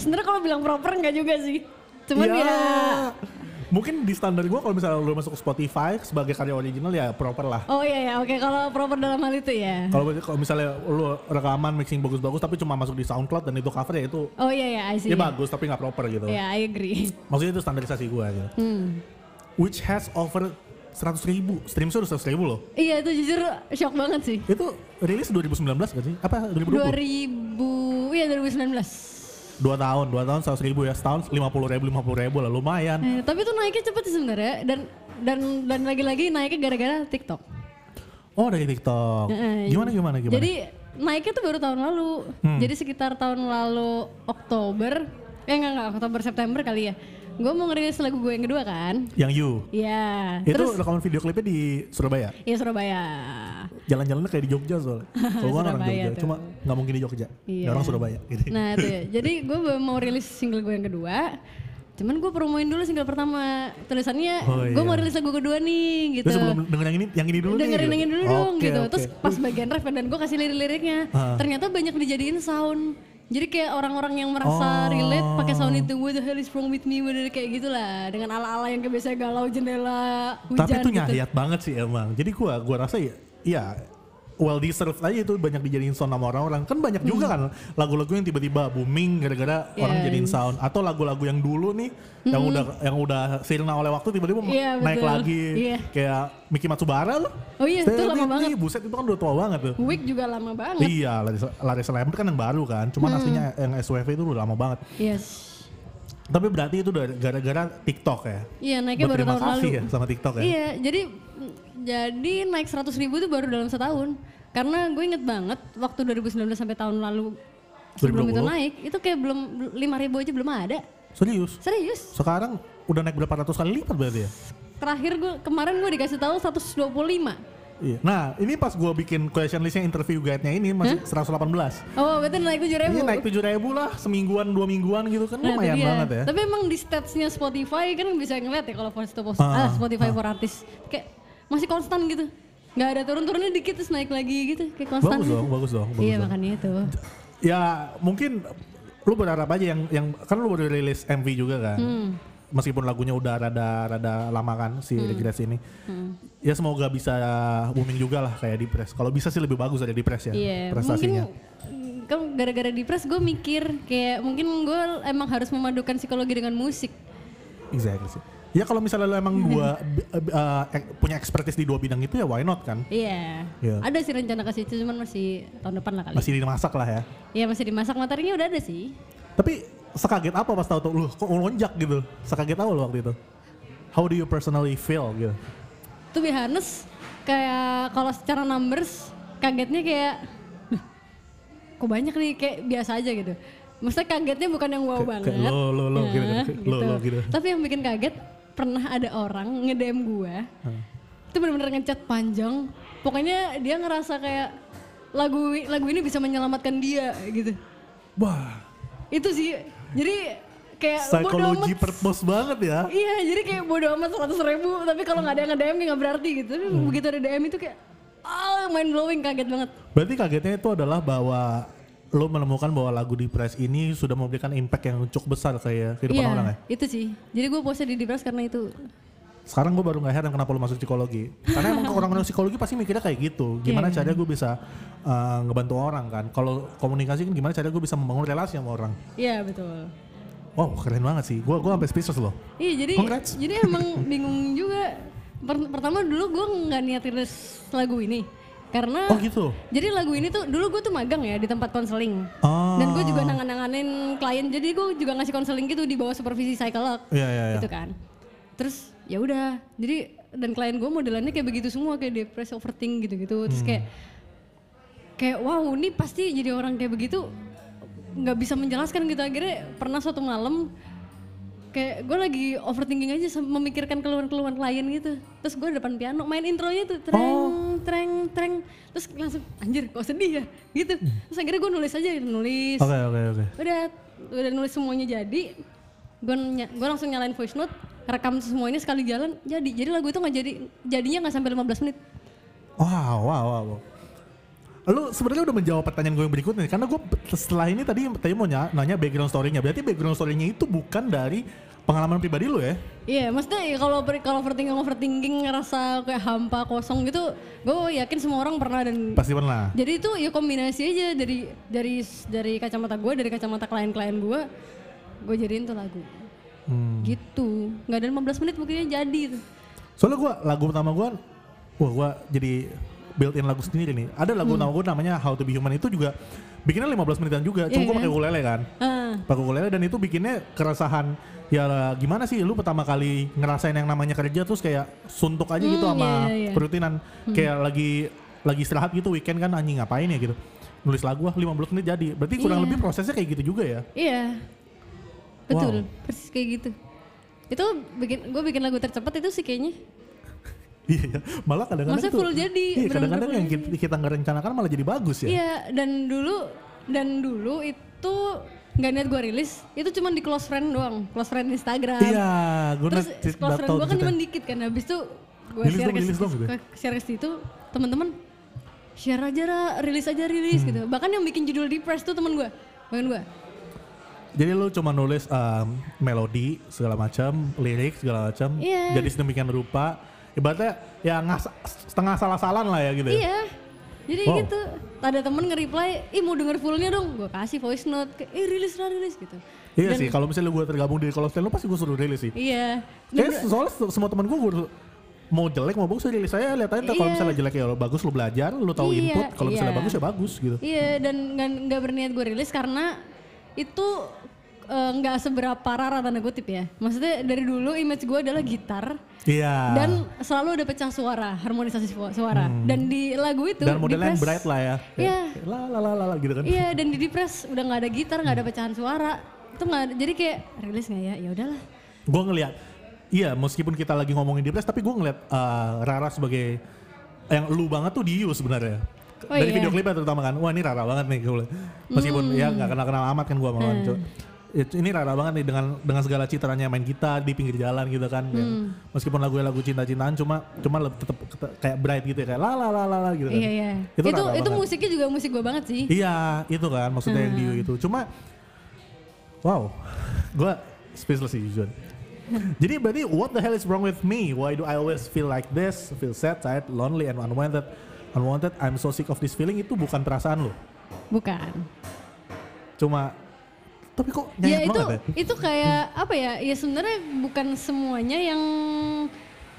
[SPEAKER 3] Sebenarnya kalau bilang proper nggak juga sih. Cuman ya.
[SPEAKER 2] Iya. Mungkin di standar gue kalau misalnya lu masuk ke Spotify sebagai karya original ya proper lah.
[SPEAKER 3] Oh iya ya, oke kalau proper dalam hal itu ya.
[SPEAKER 2] Kalau kalau misalnya lu rekaman mixing bagus-bagus tapi cuma masuk di SoundCloud dan itu cover ya itu
[SPEAKER 3] Oh iya ya, I see.
[SPEAKER 2] ya bagus tapi nggak proper gitu.
[SPEAKER 3] Ya, I agree.
[SPEAKER 2] Maksudnya itu standarisasi gue gitu.
[SPEAKER 3] Hmm.
[SPEAKER 2] Which has over seratus ribu streams udah seratus ribu loh
[SPEAKER 3] Iya itu jujur shock banget sih.
[SPEAKER 2] itu rilis 2019 gak sih apa 2020
[SPEAKER 3] 2000, iya 2019.
[SPEAKER 2] dua tahun dua tahun seratus ribu ya setahun lima puluh ribu lima puluh ribu lah lumayan
[SPEAKER 3] Eh, tapi itu naiknya cepet sih sebenarnya dan dan dan lagi-lagi naiknya gara-gara TikTok.
[SPEAKER 2] oh dari TikTok
[SPEAKER 3] Eh,
[SPEAKER 2] gimana gimana Hmm. gimana
[SPEAKER 3] Jadi naiknya tuh baru tahun lalu. Jadi sekitar tahun lalu Oktober, eh enggak enggak Oktober September kali ya. Gue mau ngerilis lagu gue yang kedua kan?
[SPEAKER 2] yang you
[SPEAKER 3] Iya.
[SPEAKER 2] itu
[SPEAKER 3] Terus
[SPEAKER 2] rekaman video klipnya di Surabaya
[SPEAKER 3] ya Surabaya.
[SPEAKER 2] jalan-jalannya kayak di Jogja soalnya kalau gua orang
[SPEAKER 3] Surabaya
[SPEAKER 2] Jogja
[SPEAKER 3] tuh.
[SPEAKER 2] cuma nggak mungkin di Jogja
[SPEAKER 3] Iya.
[SPEAKER 2] ya orang Surabaya gitu.
[SPEAKER 3] Nah itu ya. Jadi gue mau rilis single gue yang kedua. Cuman gue promoin dulu single pertama. Tulisannya
[SPEAKER 2] Oh,
[SPEAKER 3] gue mau
[SPEAKER 2] iya.
[SPEAKER 3] rilis lagu kedua nih gitu.
[SPEAKER 2] Terus sebelum denger yang ini, yang ini dulu
[SPEAKER 3] dengerin
[SPEAKER 2] nih.
[SPEAKER 3] dengerin dulu
[SPEAKER 2] Oke,
[SPEAKER 3] dong gitu
[SPEAKER 2] oke.
[SPEAKER 3] terus pas bagian ref dan gue kasih lirik-liriknya
[SPEAKER 2] Ah.
[SPEAKER 3] ternyata banyak dijadiin sound jadi kayak orang-orang yang merasa
[SPEAKER 2] Oh.
[SPEAKER 3] relate pakai sound itu what the hell is wrong with me bener kayak gitulah dengan ala-ala yang kayak biasanya galau jendela hujan
[SPEAKER 2] Tapi itu
[SPEAKER 3] gitu.
[SPEAKER 2] nyayat banget sih emang. Jadi gua gua rasa ya, ya well deserved aja itu banyak dijadiin sound sama orang-orang. Kan banyak juga kan lagu-lagu yang tiba-tiba booming gara-gara orang
[SPEAKER 3] Hmm. Yes. Hmm.
[SPEAKER 2] jadiin sound atau lagu-lagu yang dulu nih yang udah yang udah sirna oleh waktu tiba-tiba
[SPEAKER 3] Iya,
[SPEAKER 2] naik
[SPEAKER 3] betul.
[SPEAKER 2] lagi.
[SPEAKER 3] Iya.
[SPEAKER 2] Kayak Miki Matsubara loh.
[SPEAKER 3] oh iya itu lama
[SPEAKER 2] Nih,
[SPEAKER 3] banget
[SPEAKER 2] buset itu kan udah tua banget tuh.
[SPEAKER 3] Week juga lama banget
[SPEAKER 2] Iya, Larissa, Larissa Lambert kan yang baru kan. Cuman
[SPEAKER 3] Hmm.
[SPEAKER 2] aslinya yang SWV itu udah lama banget.
[SPEAKER 3] yes
[SPEAKER 2] Tapi berarti itu dari- gara-gara TikTok ya.
[SPEAKER 3] iya naiknya baru
[SPEAKER 2] Berterima
[SPEAKER 3] tahun
[SPEAKER 2] kasih
[SPEAKER 3] lalu
[SPEAKER 2] ya sama TikTok ya.
[SPEAKER 3] iya jadi jadi naik 100 ribu itu baru dalam setahun karena gue inget banget waktu 2019 sampai tahun lalu sebelum itu
[SPEAKER 2] 2020.
[SPEAKER 3] naik itu kayak belum 5 ribu aja belum ada
[SPEAKER 2] Serius.
[SPEAKER 3] serius
[SPEAKER 2] Sekarang udah naik berapa ratus kali lipat berarti ya?
[SPEAKER 3] terakhir gue kemarin gue dikasih tahu 125
[SPEAKER 2] Iya. Nah, ini pas gua bikin question listnya interview guide-nya ini masih 118.
[SPEAKER 3] oh berarti naik tujuh ribu
[SPEAKER 2] Ini Iya, naik 7000 lah semingguan dua mingguan gitu kan lumayan banget ya.
[SPEAKER 3] Nah, tapi emang di statsnya Spotify kan bisa ngeliat ya kalau for to post
[SPEAKER 2] Ah,
[SPEAKER 3] ah, Spotify for artist kayak masih konstan gitu nggak ada turun-turunnya dikit terus naik lagi gitu kayak konstan
[SPEAKER 2] Bagus
[SPEAKER 3] gitu.
[SPEAKER 2] dong, bagus dong, bagus
[SPEAKER 3] iya
[SPEAKER 2] dong.
[SPEAKER 3] makanya itu
[SPEAKER 2] Ya, mungkin lu berharap aja yang yang kan lu baru rilis MV juga kan.
[SPEAKER 3] Hmm.
[SPEAKER 2] Meskipun lagunya udah rada rada lama kan si Regress ini.
[SPEAKER 3] Hmm.
[SPEAKER 2] Ya semoga bisa booming juga lah kayak di press. Kalau bisa sih lebih bagus ada di press ya
[SPEAKER 3] iya
[SPEAKER 2] prestasinya.
[SPEAKER 3] mungkin kan gara-gara di press gue mikir kayak mungkin gue emang harus memadukan psikologi dengan musik
[SPEAKER 2] Exactly sih. Ya kalau misalnya lu emang dua bi- eh, eh, punya expertise di dua bidang itu ya why not kan?
[SPEAKER 3] iya
[SPEAKER 2] Iya.
[SPEAKER 3] ada sih rencana ke situ cuman masih tahun depan lah kali
[SPEAKER 2] Masih dimasak lah ya.
[SPEAKER 3] Iya masih dimasak materinya udah ada sih.
[SPEAKER 2] Tapi sekaget apa pas tahu tuh lu kok lonjak gitu? Sekaget apa lu waktu itu? How do you personally feel gitu?
[SPEAKER 3] To be honest, kayak kalau secara numbers kagetnya kayak "Loh, kok banyak nih kayak biasa aja gitu. Maksudnya kagetnya bukan yang wow
[SPEAKER 2] Kayak-
[SPEAKER 3] banget.
[SPEAKER 2] kayak lo, lo, lo,
[SPEAKER 3] Nah,
[SPEAKER 2] gitu, kayak lo, lo gitu.
[SPEAKER 3] Tapi yang bikin kaget pernah ada orang nge-DM gua. Itu bener-bener ngechat panjang. Pokoknya dia ngerasa kayak lagu lagu ini bisa menyelamatkan dia gitu.
[SPEAKER 2] Wah,
[SPEAKER 3] Itu sih. Jadi kayak bodo amat
[SPEAKER 2] psikologi purpose banget ya.
[SPEAKER 3] Iya, jadi kayak bodo amat seratus ribu, tapi kalau nggak ada yang nge-DM kayak nggak berarti gitu. Tapi
[SPEAKER 2] Hmm.
[SPEAKER 3] begitu ada DM itu kayak, ah mind blowing, kaget banget.
[SPEAKER 2] Berarti kagetnya itu adalah bahwa lu menemukan bahwa lagu di press ini sudah memberikan impact yang cukup besar kayak kehidupan
[SPEAKER 3] Iya,
[SPEAKER 2] orang ya.
[SPEAKER 3] itu sih. Jadi gue postnya di Depres karena itu.
[SPEAKER 2] Sekarang gue baru nggak heran kenapa lu masuk psikologi. Karena emang orang-orang psikologi pasti mikirnya kayak gitu. Gimana caranya gue bisa eh, ngebantu orang kan? Kalau komunikasi kan gimana caranya gue bisa membangun relasi sama orang?
[SPEAKER 3] Iya betul.
[SPEAKER 2] Wow, keren banget sih. Gue gua sampai speechless loh.
[SPEAKER 3] Iya, jadi
[SPEAKER 2] Congrats.
[SPEAKER 3] jadi emang bingung juga. Per- pertama dulu gue nggak niat rilis lagu ini karena
[SPEAKER 2] Oh gitu.
[SPEAKER 3] jadi lagu ini tuh dulu gue tuh magang ya di tempat konseling.
[SPEAKER 2] Ah.
[SPEAKER 3] Dan gue juga nangan-nanganin klien, jadi gue juga ngasih konseling gitu di bawah supervisi psikolog.
[SPEAKER 2] Iya iya iya.
[SPEAKER 3] gitu kan terus ya udah jadi dan klien gue modelannya kayak begitu semua kayak depresi overthink gitu gitu terus kayak kayak wow ini pasti jadi orang kayak begitu nggak bisa menjelaskan gitu akhirnya pernah suatu malam kayak gue lagi overthinking aja sam- memikirkan keluhan-keluhan klien gitu terus gue depan piano main intronya tuh treng treng treng terus langsung anjir kok sedih ya gitu terus akhirnya gue nulis aja nulis
[SPEAKER 2] Oke oke oke.
[SPEAKER 3] udah udah nulis semuanya jadi gue gue langsung nyalain voice note rekam semuanya sekali jalan jadi jadi lagu itu nggak jadi jadinya nggak sampai 15 menit
[SPEAKER 2] Wow wow wow. wow. Lu sebenarnya udah menjawab pertanyaan gue yang berikutnya karena gue setelah ini tadi tadi mau nya- nanya background story-nya. Berarti background story-nya itu bukan dari pengalaman pribadi lu ya?
[SPEAKER 3] iya maksudnya ya kalau ber- kalau overthinking overthinking ngerasa kayak hampa kosong gitu gue yakin semua orang pernah dan
[SPEAKER 2] Pasti pernah.
[SPEAKER 3] jadi itu ya kombinasi aja dari dari dari kacamata gue dari kacamata klien-klien gue gue jadiin tuh lagu
[SPEAKER 2] Hmm.
[SPEAKER 3] gitu nggak ada 15 menit mungkinnya jadi tuh
[SPEAKER 2] Soalnya gue lagu pertama gue, wah gue jadi built in lagu sendiri nih. Ada
[SPEAKER 3] Hmm.
[SPEAKER 2] lagu nama gue namanya How to Be Human itu juga bikinnya 15 menitan juga. Cuma
[SPEAKER 3] Iya
[SPEAKER 2] gue
[SPEAKER 3] kan?
[SPEAKER 2] pakai ukulele kan.
[SPEAKER 3] Ah,
[SPEAKER 2] Pakai ukulele dan itu bikinnya keresahan. Ya gimana sih lu pertama kali ngerasain yang namanya kerja terus kayak suntuk aja gitu
[SPEAKER 3] Hmm,
[SPEAKER 2] sama
[SPEAKER 3] iya, iya, iya.
[SPEAKER 2] kerutinan. Kayak lagi lagi istirahat gitu weekend kan anjing ngapain ya gitu. Nulis lagu ah 15 menit jadi. Berarti kurang
[SPEAKER 3] Iya.
[SPEAKER 2] lebih prosesnya kayak gitu juga ya.
[SPEAKER 3] iya. Betul, persis kayak gitu. Itu bikin gue bikin lagu tercepat itu sih kayaknya.
[SPEAKER 2] Iya, iya. malah kadang-kadang
[SPEAKER 3] Maksudnya
[SPEAKER 2] itu-
[SPEAKER 3] full jadi,
[SPEAKER 2] Iya,
[SPEAKER 3] bener-bener
[SPEAKER 2] kadang-kadang
[SPEAKER 3] full
[SPEAKER 2] yang kita, kita nggak rencanakan malah jadi bagus ya.
[SPEAKER 3] Iya, dan dulu dan dulu itu nggak niat gue rilis, itu cuma di close friend doang, close friend Instagram.
[SPEAKER 2] Iya, gue
[SPEAKER 3] Terus
[SPEAKER 2] net-
[SPEAKER 3] close
[SPEAKER 2] nggak
[SPEAKER 3] friend
[SPEAKER 2] tahu
[SPEAKER 3] gue kan
[SPEAKER 2] cerita.
[SPEAKER 3] cuma dikit kan, habis itu gue
[SPEAKER 2] gitu Rilis
[SPEAKER 3] share
[SPEAKER 2] dong,
[SPEAKER 3] ke,
[SPEAKER 2] rilis dong gitu.
[SPEAKER 3] ke- share ke situ, teman-teman share aja lah, rilis aja rilis
[SPEAKER 2] Hmm.
[SPEAKER 3] gitu. Bahkan yang bikin judul di press tuh temen gue, temen gue.
[SPEAKER 2] Jadi lu cuma nulis em, melodi segala macam, lirik segala macam.
[SPEAKER 3] Iya.
[SPEAKER 2] Jadi sedemikian rupa. Ibaratnya ya ngas setengah salah-salan lah ya gitu. ya.
[SPEAKER 3] Iya. Jadi
[SPEAKER 2] Wow.
[SPEAKER 3] gitu, ada temen nge-reply, ih mau denger fullnya dong, gue kasih voice note, kayak, ih rilis lah rilis gitu.
[SPEAKER 2] Iya sih, kalau misalnya gue tergabung di Call of Duty, lu pasti gue suruh rilis sih.
[SPEAKER 3] Iya. Dan-
[SPEAKER 2] Kayak soalnya se- semua teman gue, gue mau jelek mau bagus rilis saya lihat aja ntar kalau
[SPEAKER 3] Iya.
[SPEAKER 2] misalnya jelek ya lo bagus lu belajar lu tahu
[SPEAKER 3] Iya,
[SPEAKER 2] input kalau misalnya
[SPEAKER 3] iya.
[SPEAKER 2] bagus ya bagus gitu
[SPEAKER 3] Iya dan nggak- nggak berniat gue rilis karena itu eh, nggak seberapa rara tanda kutip ya. Maksudnya dari dulu image gue adalah gitar
[SPEAKER 2] iya
[SPEAKER 3] dan selalu ada pecah suara, harmonisasi su- suara. Dan di lagu itu
[SPEAKER 2] Hmm. dan
[SPEAKER 3] di
[SPEAKER 2] modelnya yang
[SPEAKER 3] press-
[SPEAKER 2] bright lah ya
[SPEAKER 3] Iya.
[SPEAKER 2] Kayak la la la la la gitu kan
[SPEAKER 3] Iya dan di depress udah nggak ada gitar, nggak ada pecahan suara. Itu nggak ada- jadi kayak rilis nggak ya? Ya udahlah.
[SPEAKER 2] gue ngelihat iya meskipun kita lagi ngomongin Depress tapi gue ngelihat eh, Rara sebagai yang lu banget tuh di Yu sebenarnya
[SPEAKER 3] Oh
[SPEAKER 2] dari
[SPEAKER 3] iya. Hmm.
[SPEAKER 2] video klipnya terutama kan wah ini Rara banget nih gue meskipun ya nggak kenal kenal amat kan gue sama Wan, cu. It- ini Rara banget nih dengan dengan segala citranya main gitar di pinggir jalan gitu kan Ya.
[SPEAKER 3] Hmm.
[SPEAKER 2] meskipun lagunya lagu cinta-cintaan cuma cuma tetap kayak bright gitu ya kayak la la la la la gitu kan
[SPEAKER 3] Iya iya.
[SPEAKER 2] Itu
[SPEAKER 3] Itu itu,
[SPEAKER 2] rara banget.
[SPEAKER 3] musiknya juga musik gue banget sih.
[SPEAKER 2] Iya, itu kan maksudnya yang
[SPEAKER 3] Hmm.
[SPEAKER 2] Dio itu. Cuma, wow, gue speechless sih jujur. Jadi berarti what the hell is wrong with me? Why do I always feel like this? Feel sad, tired, lonely, and unwanted. Unwanted, I'm so sick of this feeling itu bukan perasaan lo.
[SPEAKER 3] Bukan.
[SPEAKER 2] Cuma, tapi kok
[SPEAKER 3] ya
[SPEAKER 2] nyayat
[SPEAKER 3] itu
[SPEAKER 2] banget ya?
[SPEAKER 3] itu kayak apa ya ya sebenarnya bukan semuanya yang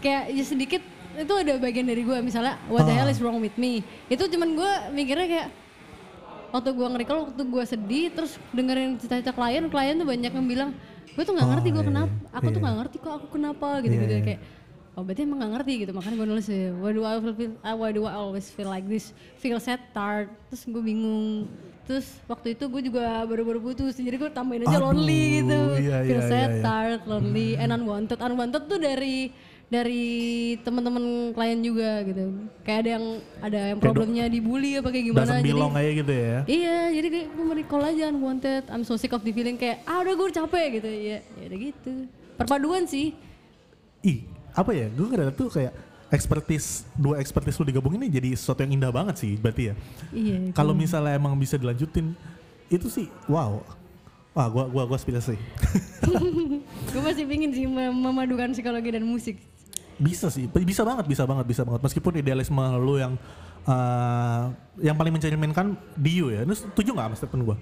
[SPEAKER 3] kayak ya sedikit itu ada bagian dari gue misalnya what the
[SPEAKER 2] Ah.
[SPEAKER 3] hell is wrong with me itu cuman gue mikirnya kayak waktu gue nge-recall waktu gue sedih terus dengerin cerita-cerita klien klien tuh banyak yang bilang gue tuh nggak
[SPEAKER 2] Oh,
[SPEAKER 3] ngerti gue
[SPEAKER 2] iya,
[SPEAKER 3] kenapa
[SPEAKER 2] iya.
[SPEAKER 3] aku tuh
[SPEAKER 2] Iya.
[SPEAKER 3] nggak ngerti kok aku kenapa gitu gitu
[SPEAKER 2] Iya, iya.
[SPEAKER 3] kayak oh berarti emang nggak ngerti gitu makanya gue nulis ya, why do I feel uh, why do I always feel like this feel sad tired terus gue bingung terus waktu itu gue juga baru-baru putus jadi gue tambahin aja
[SPEAKER 2] Aduh,
[SPEAKER 3] lonely gitu
[SPEAKER 2] iya,
[SPEAKER 3] feel
[SPEAKER 2] iya,
[SPEAKER 3] sad
[SPEAKER 2] iya, iya.
[SPEAKER 3] tired lonely and unwanted unwanted tuh dari dari teman-teman klien juga gitu kayak ada yang ada yang
[SPEAKER 2] Kayak do-
[SPEAKER 3] problemnya dibully apa kayak gimana
[SPEAKER 2] Doesn't belong aja gitu ya.
[SPEAKER 3] Iya, jadi kayak gue recall aja unwanted, I'm so sick of the feeling kayak ah udah gue capek gitu. Iya, ya udah gitu. Perpaduan sih.
[SPEAKER 2] Ih, apa ya? Gue ngerasa tuh kayak expertise, dua expertise lu digabungin ini jadi sesuatu yang indah banget sih berarti ya.
[SPEAKER 3] Iya.
[SPEAKER 2] Kalau misalnya emang bisa dilanjutin, itu sih wow. Wah, gua gua gua speechless sih.
[SPEAKER 3] gue masih pingin sih mem- memadukan psikologi dan musik.
[SPEAKER 2] Bisa sih, bisa banget, bisa banget, bisa banget. Meskipun idealisme lu yang eh, yang paling mencerminkan Dio ya. Lu setuju nggak sama statement gua?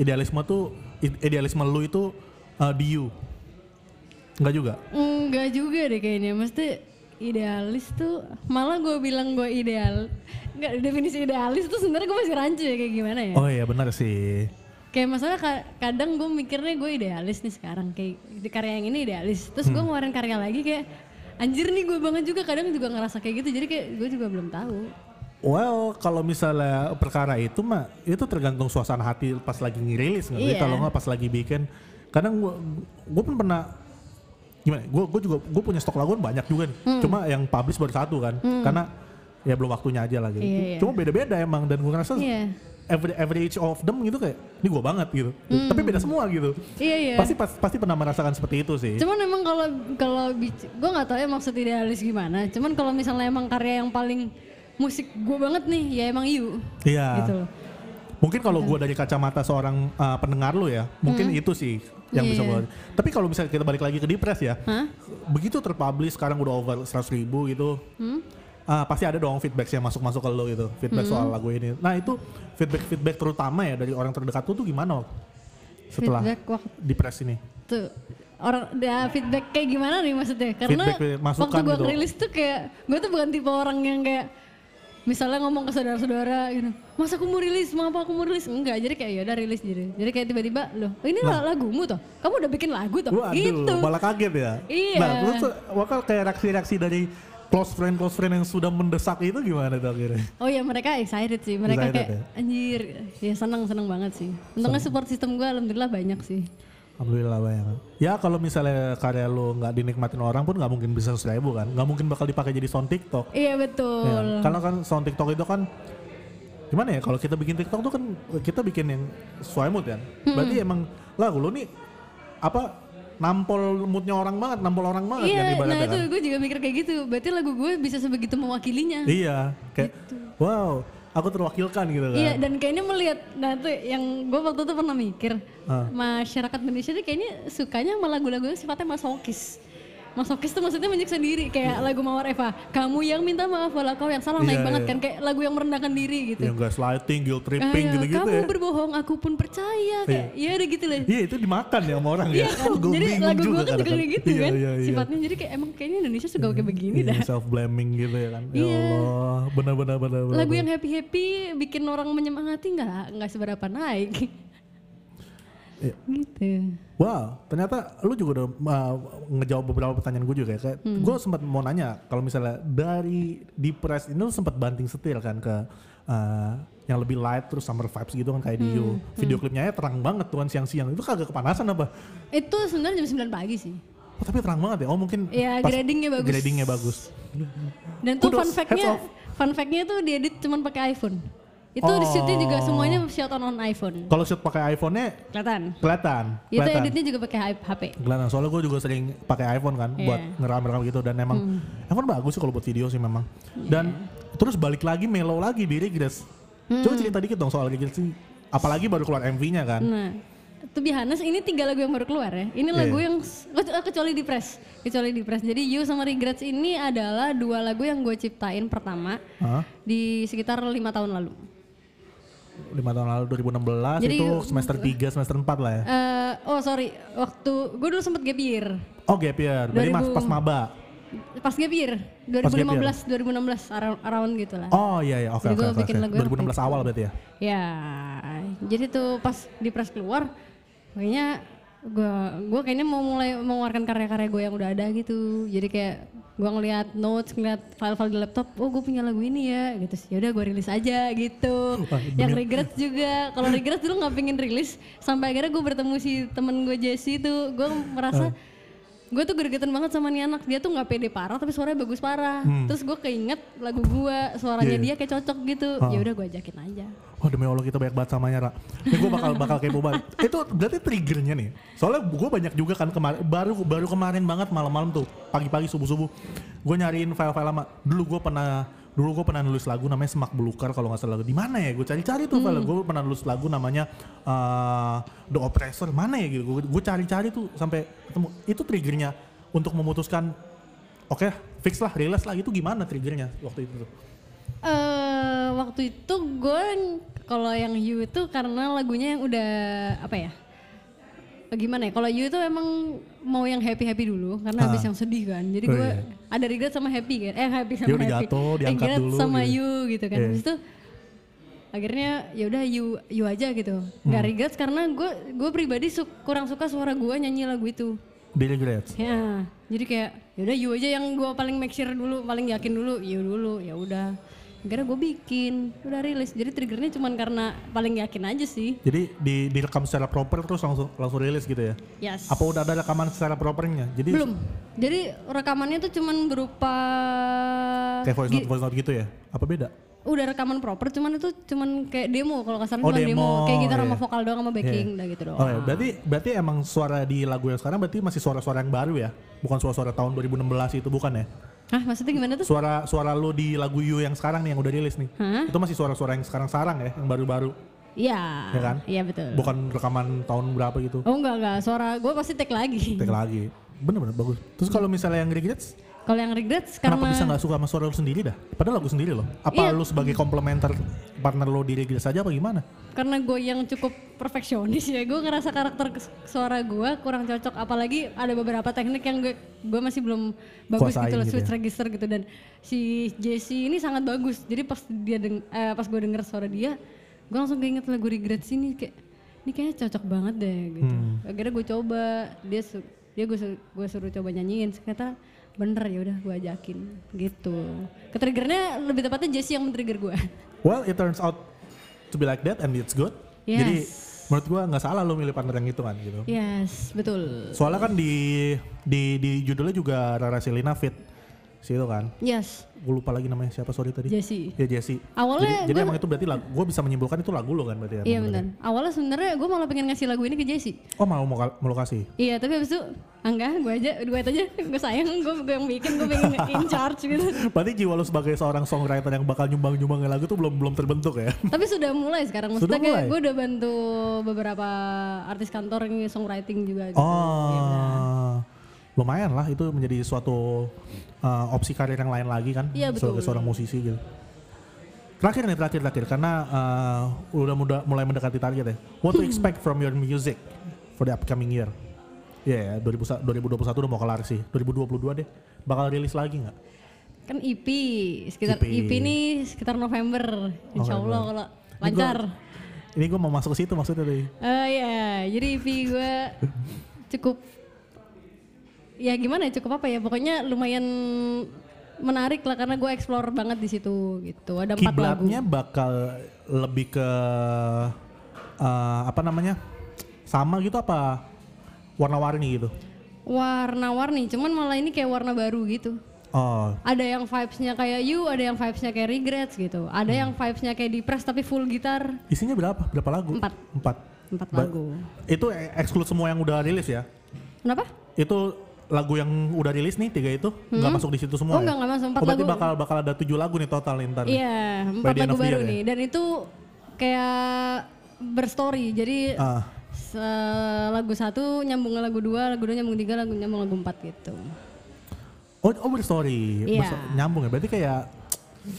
[SPEAKER 2] Idealisme tuh i- idealisme lu itu eh, Dio. Enggak juga.
[SPEAKER 3] Enggak juga deh kayaknya, mesti idealis tuh malah gue bilang gue ideal. Enggak definisi idealis tuh sebenarnya gue masih rancu ya kayak gimana ya.
[SPEAKER 2] Oh iya benar sih.
[SPEAKER 3] Kayak masalah ka- kadang gue mikirnya gue idealis nih sekarang kayak di karya yang ini idealis. Terus
[SPEAKER 2] Hmm.
[SPEAKER 3] gue ngeluarin karya lagi kayak anjir nih gue banget juga kadang juga ngerasa kayak gitu. Jadi kayak gue juga belum tahu.
[SPEAKER 2] Well, kalau misalnya perkara itu mah itu tergantung suasana hati pas lagi ngerilis nggak?
[SPEAKER 3] Iya.
[SPEAKER 2] Kalau nggak pas lagi bikin, kadang gua gua pun pernah gimana? Gua gua juga gua punya stok laguan banyak juga nih.
[SPEAKER 3] Hmm.
[SPEAKER 2] Cuma yang publish baru satu kan, karena ya belum waktunya aja lagi.
[SPEAKER 3] Iya, iya.
[SPEAKER 2] Cuma beda-beda emang dan gua ngerasa
[SPEAKER 3] Iya.
[SPEAKER 2] every every each of them gitu kayak ini gua banget gitu. Tapi beda semua gitu.
[SPEAKER 3] Iya Hmm. iya.
[SPEAKER 2] Pasti pas- pasti pernah merasakan seperti itu sih.
[SPEAKER 3] Cuman emang kalau kalau gue nggak tahu ya maksud idealis gimana. Cuman kalau misalnya emang karya yang paling musik gue banget nih ya emang you
[SPEAKER 2] Iya.
[SPEAKER 3] gitu. loh.
[SPEAKER 2] Mungkin
[SPEAKER 3] Hmm.
[SPEAKER 2] kalau gua dari kacamata seorang uh, pendengar lu ya, mungkin itu sih yang bisa
[SPEAKER 3] Iya.
[SPEAKER 2] gua. Tapi kalau misalnya kita balik lagi ke Depres ya,
[SPEAKER 3] Hah?
[SPEAKER 2] begitu terpublish sekarang udah over 100 ribu gitu,
[SPEAKER 3] Hmm?
[SPEAKER 2] ah, pasti ada dong feedback yang masuk-masuk ke lu gitu, feedback soal lagu ini. Nah itu feedback-feedback terutama ya dari orang terdekat lu tuh gimana Wak? setelah
[SPEAKER 3] Feedback waktu
[SPEAKER 2] Depres ini?
[SPEAKER 3] tuh orang da, feedback kayak gimana nih maksudnya? Karena
[SPEAKER 2] Feedback, masukan
[SPEAKER 3] waktu gue
[SPEAKER 2] gitu.
[SPEAKER 3] rilis tuh kayak gue tuh bukan tipe orang yang kayak misalnya ngomong ke saudara-saudara gitu, masa aku mau rilis, mau apa aku mau rilis? Enggak, jadi kayak ya udah rilis jadi. Jadi kayak tiba-tiba loh, ini lah lagumu toh, kamu udah bikin lagu toh,
[SPEAKER 2] Waduh,
[SPEAKER 3] gitu.
[SPEAKER 2] malah kaget ya.
[SPEAKER 3] Iya.
[SPEAKER 2] Nah, terus tuh, bakal kayak reaksi-reaksi dari close friend close friend yang sudah mendesak itu gimana tuh akhirnya?
[SPEAKER 3] Oh iya mereka excited sih, mereka
[SPEAKER 2] Excited
[SPEAKER 3] kayak
[SPEAKER 2] ya?
[SPEAKER 3] anjir, ya seneng seneng banget sih. Untungnya support system gue alhamdulillah banyak sih.
[SPEAKER 2] Alhamdulillah banyak. Ya kalau misalnya karya lo nggak dinikmatin orang pun nggak mungkin bisa seribu kan, nggak mungkin bakal dipakai jadi sound TikTok. Ya,
[SPEAKER 3] Iya betul.
[SPEAKER 2] Karena kan sound TikTok itu kan gimana ya kalau kita bikin TikTok tuh kan kita bikin yang sesuai mood kan.
[SPEAKER 3] Hmm.
[SPEAKER 2] Berarti emang lagu lo nih apa nampol moodnya orang banget, nampol orang banget kan
[SPEAKER 3] Iya, nah
[SPEAKER 2] ibaratnya
[SPEAKER 3] itu
[SPEAKER 2] kan.
[SPEAKER 3] gue juga mikir kayak gitu. Berarti lagu gue bisa sebegitu mewakilinya.
[SPEAKER 2] Iya, kayak wow, aku terwakilkan gitu kan.
[SPEAKER 3] Gitu. Iya, dan kayaknya melihat nah tuh yang gue waktu itu pernah mikir
[SPEAKER 2] Ah.
[SPEAKER 3] masyarakat Indonesia tuh kayaknya sukanya sama lagu-lagu yang sifatnya masokis. Masokis tuh maksudnya menyiksa diri kayak lagu Mawar Eva. Kamu yang minta maaf walau kau yang salah naik
[SPEAKER 2] Iya,
[SPEAKER 3] banget
[SPEAKER 2] iya.
[SPEAKER 3] kan kayak lagu yang merendahkan diri gitu.
[SPEAKER 2] Yang Ya, gaslighting, guilt tripping
[SPEAKER 3] Ah,
[SPEAKER 2] gitu-gitu
[SPEAKER 3] kamu
[SPEAKER 2] ya.
[SPEAKER 3] berbohong, aku pun percaya kayak ya udah gitu lah.
[SPEAKER 2] Iya itu dimakan ya sama orang ya.
[SPEAKER 3] Iya kan?
[SPEAKER 2] Gua
[SPEAKER 3] jadi
[SPEAKER 2] bingung
[SPEAKER 3] lagu gue kan juga
[SPEAKER 2] kadang-kadang.
[SPEAKER 3] kayak gitu
[SPEAKER 2] Iya,
[SPEAKER 3] kan
[SPEAKER 2] Iya, iya.
[SPEAKER 3] sifatnya jadi kayak emang kayaknya Indonesia suka kayak begini dah.
[SPEAKER 2] self blaming Iya, gitu ya kan. Ya
[SPEAKER 3] Iya.
[SPEAKER 2] Allah, benar-benar benar-benar.
[SPEAKER 3] Lagu yang happy happy bikin orang menyemangati nggak nggak seberapa naik.
[SPEAKER 2] Iya.
[SPEAKER 3] gitu.
[SPEAKER 2] Wow, ternyata lu juga udah uh, ngejawab beberapa pertanyaan gue juga ya. Kayak
[SPEAKER 3] Hmm.
[SPEAKER 2] gue sempat mau nanya kalau misalnya dari di press ini lu sempat banting setir kan ke uh, yang lebih light terus summer vibes gitu kan
[SPEAKER 3] Hmm,
[SPEAKER 2] kayak di You. Video klipnya ya terang banget tuh kan siang-siang. Itu kagak kepanasan apa?
[SPEAKER 3] Itu sebenarnya jam 9 pagi sih.
[SPEAKER 2] Oh, tapi terang banget ya. Oh, mungkin
[SPEAKER 3] Iya,
[SPEAKER 2] pas-
[SPEAKER 3] gradingnya bagus.
[SPEAKER 2] Gradingnya bagus.
[SPEAKER 3] Dan tuh
[SPEAKER 2] Kudos,
[SPEAKER 3] fun
[SPEAKER 2] heads
[SPEAKER 3] fact-nya,
[SPEAKER 2] off.
[SPEAKER 3] fun fact-nya tuh diedit cuman pakai iPhone. Itu
[SPEAKER 2] Oh.
[SPEAKER 3] di shootnya juga semuanya shot on on iPhone.
[SPEAKER 2] Kalau shoot pakai iPhone-nya
[SPEAKER 3] Kelihatan.
[SPEAKER 2] kelihatan.
[SPEAKER 3] Itu
[SPEAKER 2] kelihatan.
[SPEAKER 3] editnya juga pakai hi- HP.
[SPEAKER 2] Kelihatan. Soalnya gue juga sering pakai iPhone kan
[SPEAKER 3] Iya. Hmm.
[SPEAKER 2] buat ngerekam-rekam gitu dan emang iPhone bagus sih kalau buat video sih memang.
[SPEAKER 3] Iya.
[SPEAKER 2] Dan terus balik lagi mellow lagi di Regres. Coba
[SPEAKER 3] Hmm.
[SPEAKER 2] cerita dikit dong soal Regres sih. Apalagi baru keluar MV-nya kan.
[SPEAKER 3] Nah, to be honest, ini tiga lagu yang baru keluar ya. Ini
[SPEAKER 2] Iya,
[SPEAKER 3] lagu
[SPEAKER 2] iya.
[SPEAKER 3] yang s- kecu- eh, kecuali di press, kecuali di press. Jadi You sama Regrets ini adalah dua lagu yang gue ciptain pertama
[SPEAKER 2] Hah?
[SPEAKER 3] di sekitar lima tahun lalu.
[SPEAKER 2] 5 tahun lalu 2016
[SPEAKER 3] Jadi,
[SPEAKER 2] itu semester 3 semester 4 lah ya.
[SPEAKER 3] Eh, oh sorry, waktu gue dulu sempet gap year,
[SPEAKER 2] Oh gap year. Berarti mas,
[SPEAKER 3] 2000.
[SPEAKER 2] pas maba.
[SPEAKER 3] pas gap year
[SPEAKER 2] gap year.
[SPEAKER 3] 2015, 2016 arou- around gitu lah.
[SPEAKER 2] Oh iya iya oke oke
[SPEAKER 3] Jadi gua
[SPEAKER 2] oke.
[SPEAKER 3] bikin lagu yang waktu
[SPEAKER 2] 2016
[SPEAKER 3] itu.
[SPEAKER 2] awal berarti ya.
[SPEAKER 3] Ya, jadi tuh pas di press keluar, kayaknya gue gue kayaknya mau mulai mengeluarkan karya-karya gue yang udah ada gitu. Jadi kayak gue ngeliat notes, ngeliat file-file di laptop, oh gue punya lagu ini ya, gitu sih. Yaudah gue rilis aja gitu. yang regret juga, kalau regret dulu nggak pengen rilis, sampai akhirnya gue bertemu si temen gue Jesse tuh, gue merasa gue tuh gregetan banget sama nih anak dia tuh nggak pede parah tapi suaranya bagus parah terus gue keinget lagu gue suaranya dia kayak cocok gitu ya udah gue ajakin aja
[SPEAKER 2] Wah demi Allah kita banyak banget samanya Ra. Ini gue bakal bakal kepo banget. Itu berarti triggernya nih. Soalnya gue banyak juga kan kemarin baru baru kemarin banget malam-malam tuh pagi-pagi subuh-subuh gue nyariin file-file lama. Dulu gue pernah dulu gue pernah nulis lagu namanya Semak Belukar kalau nggak salah di mana ya gue cari-cari tuh file gue pernah nulis lagu namanya eh, The Oppressor mana ya gitu gue gue cari-cari tuh sampai ketemu itu triggernya untuk memutuskan oke fix lah rilis lah itu gimana triggernya waktu itu tuh
[SPEAKER 3] eh waktu itu gue n- kalau yang You itu karena lagunya yang udah apa ya? Gimana ya? Kalau You itu emang mau yang happy happy dulu karena habis yang sedih kan. Jadi
[SPEAKER 2] Oh
[SPEAKER 3] gue
[SPEAKER 2] iya.
[SPEAKER 3] ada regret sama happy kan. Eh happy
[SPEAKER 2] Dia
[SPEAKER 3] sama
[SPEAKER 2] udah
[SPEAKER 3] happy.
[SPEAKER 2] jatuh, diangkat
[SPEAKER 3] regret
[SPEAKER 2] dulu
[SPEAKER 3] sama
[SPEAKER 2] gitu.
[SPEAKER 3] You gitu kan.
[SPEAKER 2] Iya.
[SPEAKER 3] Habis itu akhirnya ya udah You You aja gitu. Gak
[SPEAKER 2] Hmm.
[SPEAKER 3] regret karena gue gue pribadi su- kurang suka suara gue nyanyi lagu itu.
[SPEAKER 2] di regrets
[SPEAKER 3] Ya, jadi kayak yaudah you aja yang gua paling make sure dulu, paling yakin dulu, you dulu, ya udah. Akhirnya gue bikin, udah rilis. Jadi triggernya cuman karena paling yakin aja sih.
[SPEAKER 2] Jadi di direkam secara proper terus langsung langsung rilis gitu ya?
[SPEAKER 3] Yes.
[SPEAKER 2] Apa udah ada rekaman secara propernya? Jadi
[SPEAKER 3] Belum. Jadi rekamannya tuh cuman berupa
[SPEAKER 2] kayak voice
[SPEAKER 3] gi-
[SPEAKER 2] note voice note gitu ya? Apa beda?
[SPEAKER 3] udah rekaman proper, cuman itu cuman kayak demo kalau
[SPEAKER 2] Oh,
[SPEAKER 3] kasarnya cuman demo.
[SPEAKER 2] demo,
[SPEAKER 3] kayak gitar sama
[SPEAKER 2] iya.
[SPEAKER 3] vokal doang sama backing
[SPEAKER 2] Iya.
[SPEAKER 3] udah gitu doang.
[SPEAKER 2] Oh, ya. berarti berarti emang suara di lagu yang sekarang berarti masih suara-suara yang baru ya? Bukan suara-suara tahun 2016 itu bukan ya?
[SPEAKER 3] Hah, maksudnya gimana tuh?
[SPEAKER 2] Suara suara lo di lagu You yang sekarang nih yang udah rilis nih.
[SPEAKER 3] Hah?
[SPEAKER 2] Itu masih suara-suara yang sekarang sarang ya, yang baru-baru.
[SPEAKER 3] Iya.
[SPEAKER 2] Ya kan?
[SPEAKER 3] Iya betul.
[SPEAKER 2] Bukan rekaman tahun berapa gitu.
[SPEAKER 3] Oh enggak enggak, suara gue pasti take lagi.
[SPEAKER 2] Take lagi. Bener-bener bagus. Terus kalau misalnya yang regrets?
[SPEAKER 3] Kalau yang regrets
[SPEAKER 2] Kenapa
[SPEAKER 3] karena
[SPEAKER 2] bisa nggak suka sama suara lu sendiri dah? Padahal lagu sendiri loh. Apa
[SPEAKER 3] Iya.
[SPEAKER 2] lu sebagai komplementer partner lo diri kita saja apa gimana?
[SPEAKER 3] karena gue yang cukup perfeksionis ya gue ngerasa karakter kes- suara gue kurang cocok apalagi ada beberapa teknik yang gue gue masih belum bagus
[SPEAKER 2] Kuasain
[SPEAKER 3] gitu loh
[SPEAKER 2] gitu
[SPEAKER 3] switch
[SPEAKER 2] ya.
[SPEAKER 3] register gitu dan si Jesse ini sangat bagus jadi pas dia deng- eh, pas gue denger suara dia gue langsung keinget lagu regret sini kayak ini kayaknya cocok banget deh gitu
[SPEAKER 2] Hmm.
[SPEAKER 3] akhirnya gue coba dia su- dia gue suruh, gue suruh coba nyanyiin ternyata bener ya udah gue ajakin gitu ketriggernya lebih tepatnya Jesse yang men-trigger gue
[SPEAKER 2] Well, it turns out to be like that and it's good.
[SPEAKER 3] Yes.
[SPEAKER 2] Jadi menurut gua nggak salah lo milih partner yang itu kan gitu.
[SPEAKER 3] yes betul
[SPEAKER 2] Soalnya kan di di di judulnya juga Rara Selina fit. Situ kan.
[SPEAKER 3] yes
[SPEAKER 2] Gue lupa lagi namanya siapa sorry tadi.
[SPEAKER 3] Jesse.
[SPEAKER 2] Ya Jesse. jadi,
[SPEAKER 3] Awalnya
[SPEAKER 2] jadi
[SPEAKER 3] gua-
[SPEAKER 2] emang itu berarti lagu, gue bisa menyimpulkan itu lagu lo kan berarti. ya,
[SPEAKER 3] Iya
[SPEAKER 2] bener-bener.
[SPEAKER 3] benar. Awalnya sebenarnya gue malah pengen ngasih lagu ini ke Jesse.
[SPEAKER 2] Oh mau mau, mau lo kasih.
[SPEAKER 3] Iya, tapi abis itu ah, enggak, gue aja, gue aja, gue sayang, gue gue yang bikin, gue pengen in charge gitu.
[SPEAKER 2] Berarti jiwa lo sebagai seorang songwriter yang bakal nyumbang-nyumbangin lagu tuh belum belum terbentuk ya.
[SPEAKER 3] tapi sudah mulai sekarang,
[SPEAKER 2] Sudah
[SPEAKER 3] maksudnya kayak
[SPEAKER 2] mulai?
[SPEAKER 3] gue udah bantu beberapa artis kantor yang songwriting juga. Gitu. Iya, benar.
[SPEAKER 2] Oh. Lumayan lah itu menjadi suatu uh, opsi karir yang lain lagi kan
[SPEAKER 3] Iya, betul.
[SPEAKER 2] sebagai seorang musisi gitu. Terakhir nih terakhir terakhir karena uh, udah muda, mulai mendekati target ya. What to expect from your music for the upcoming year? Ya, yeah, 2000 2021 udah mau kelar sih. 2022 deh. Bakal rilis lagi nggak?
[SPEAKER 3] Kan EP, sekitar
[SPEAKER 2] EP.
[SPEAKER 3] EP, nih sekitar November,
[SPEAKER 2] E
[SPEAKER 3] Insya
[SPEAKER 2] November.
[SPEAKER 3] Allah kalau
[SPEAKER 2] gua-
[SPEAKER 3] lancar.
[SPEAKER 2] Ini gue mau masuk ke situ maksudnya tadi.
[SPEAKER 3] Eh ya, jadi EP gue cukup ya gimana ya, cukup apa ya? Pokoknya lumayan menarik lah karena gue explore banget di situ gitu. Ada empat lagu.
[SPEAKER 2] Kiblatnya bakal lebih ke eh, apa namanya? Sama gitu apa warna-warni gitu?
[SPEAKER 3] Warna-warni, cuman malah ini kayak warna baru gitu.
[SPEAKER 2] Oh,
[SPEAKER 3] Ada yang vibes-nya kayak You, ada yang vibes-nya kayak Regrets gitu. Ada
[SPEAKER 2] Hmm.
[SPEAKER 3] yang vibes-nya kayak Depressed tapi full gitar.
[SPEAKER 2] isinya berapa? Berapa lagu?
[SPEAKER 3] Empat.
[SPEAKER 2] Empat.
[SPEAKER 3] Empat
[SPEAKER 2] Ba-
[SPEAKER 3] lagu.
[SPEAKER 2] Itu e- exclude semua yang udah rilis ya?
[SPEAKER 3] Kenapa?
[SPEAKER 2] Itu lagu yang udah rilis nih tiga itu nggak masuk di situ semua? ya?
[SPEAKER 3] Oh, nggak, nggak masuk. Empat
[SPEAKER 2] oh, berarti
[SPEAKER 3] lagu.
[SPEAKER 2] bakal bakal ada tujuh lagu nih total nih ntar. nih.
[SPEAKER 3] Iya,
[SPEAKER 2] By
[SPEAKER 3] empat
[SPEAKER 2] the end of
[SPEAKER 3] lagu
[SPEAKER 2] the
[SPEAKER 3] baru
[SPEAKER 2] year ya?
[SPEAKER 3] nih. Dan itu kayak berstory. Jadi
[SPEAKER 2] Ah,
[SPEAKER 3] Se- lagu satu nyambung ke lagu dua, lagu dua nyambung tiga, lagu nyambung lagu empat gitu.
[SPEAKER 2] Oh, oh berstory.
[SPEAKER 3] Iya.
[SPEAKER 2] Berso- Nyambung ya. Berarti kayak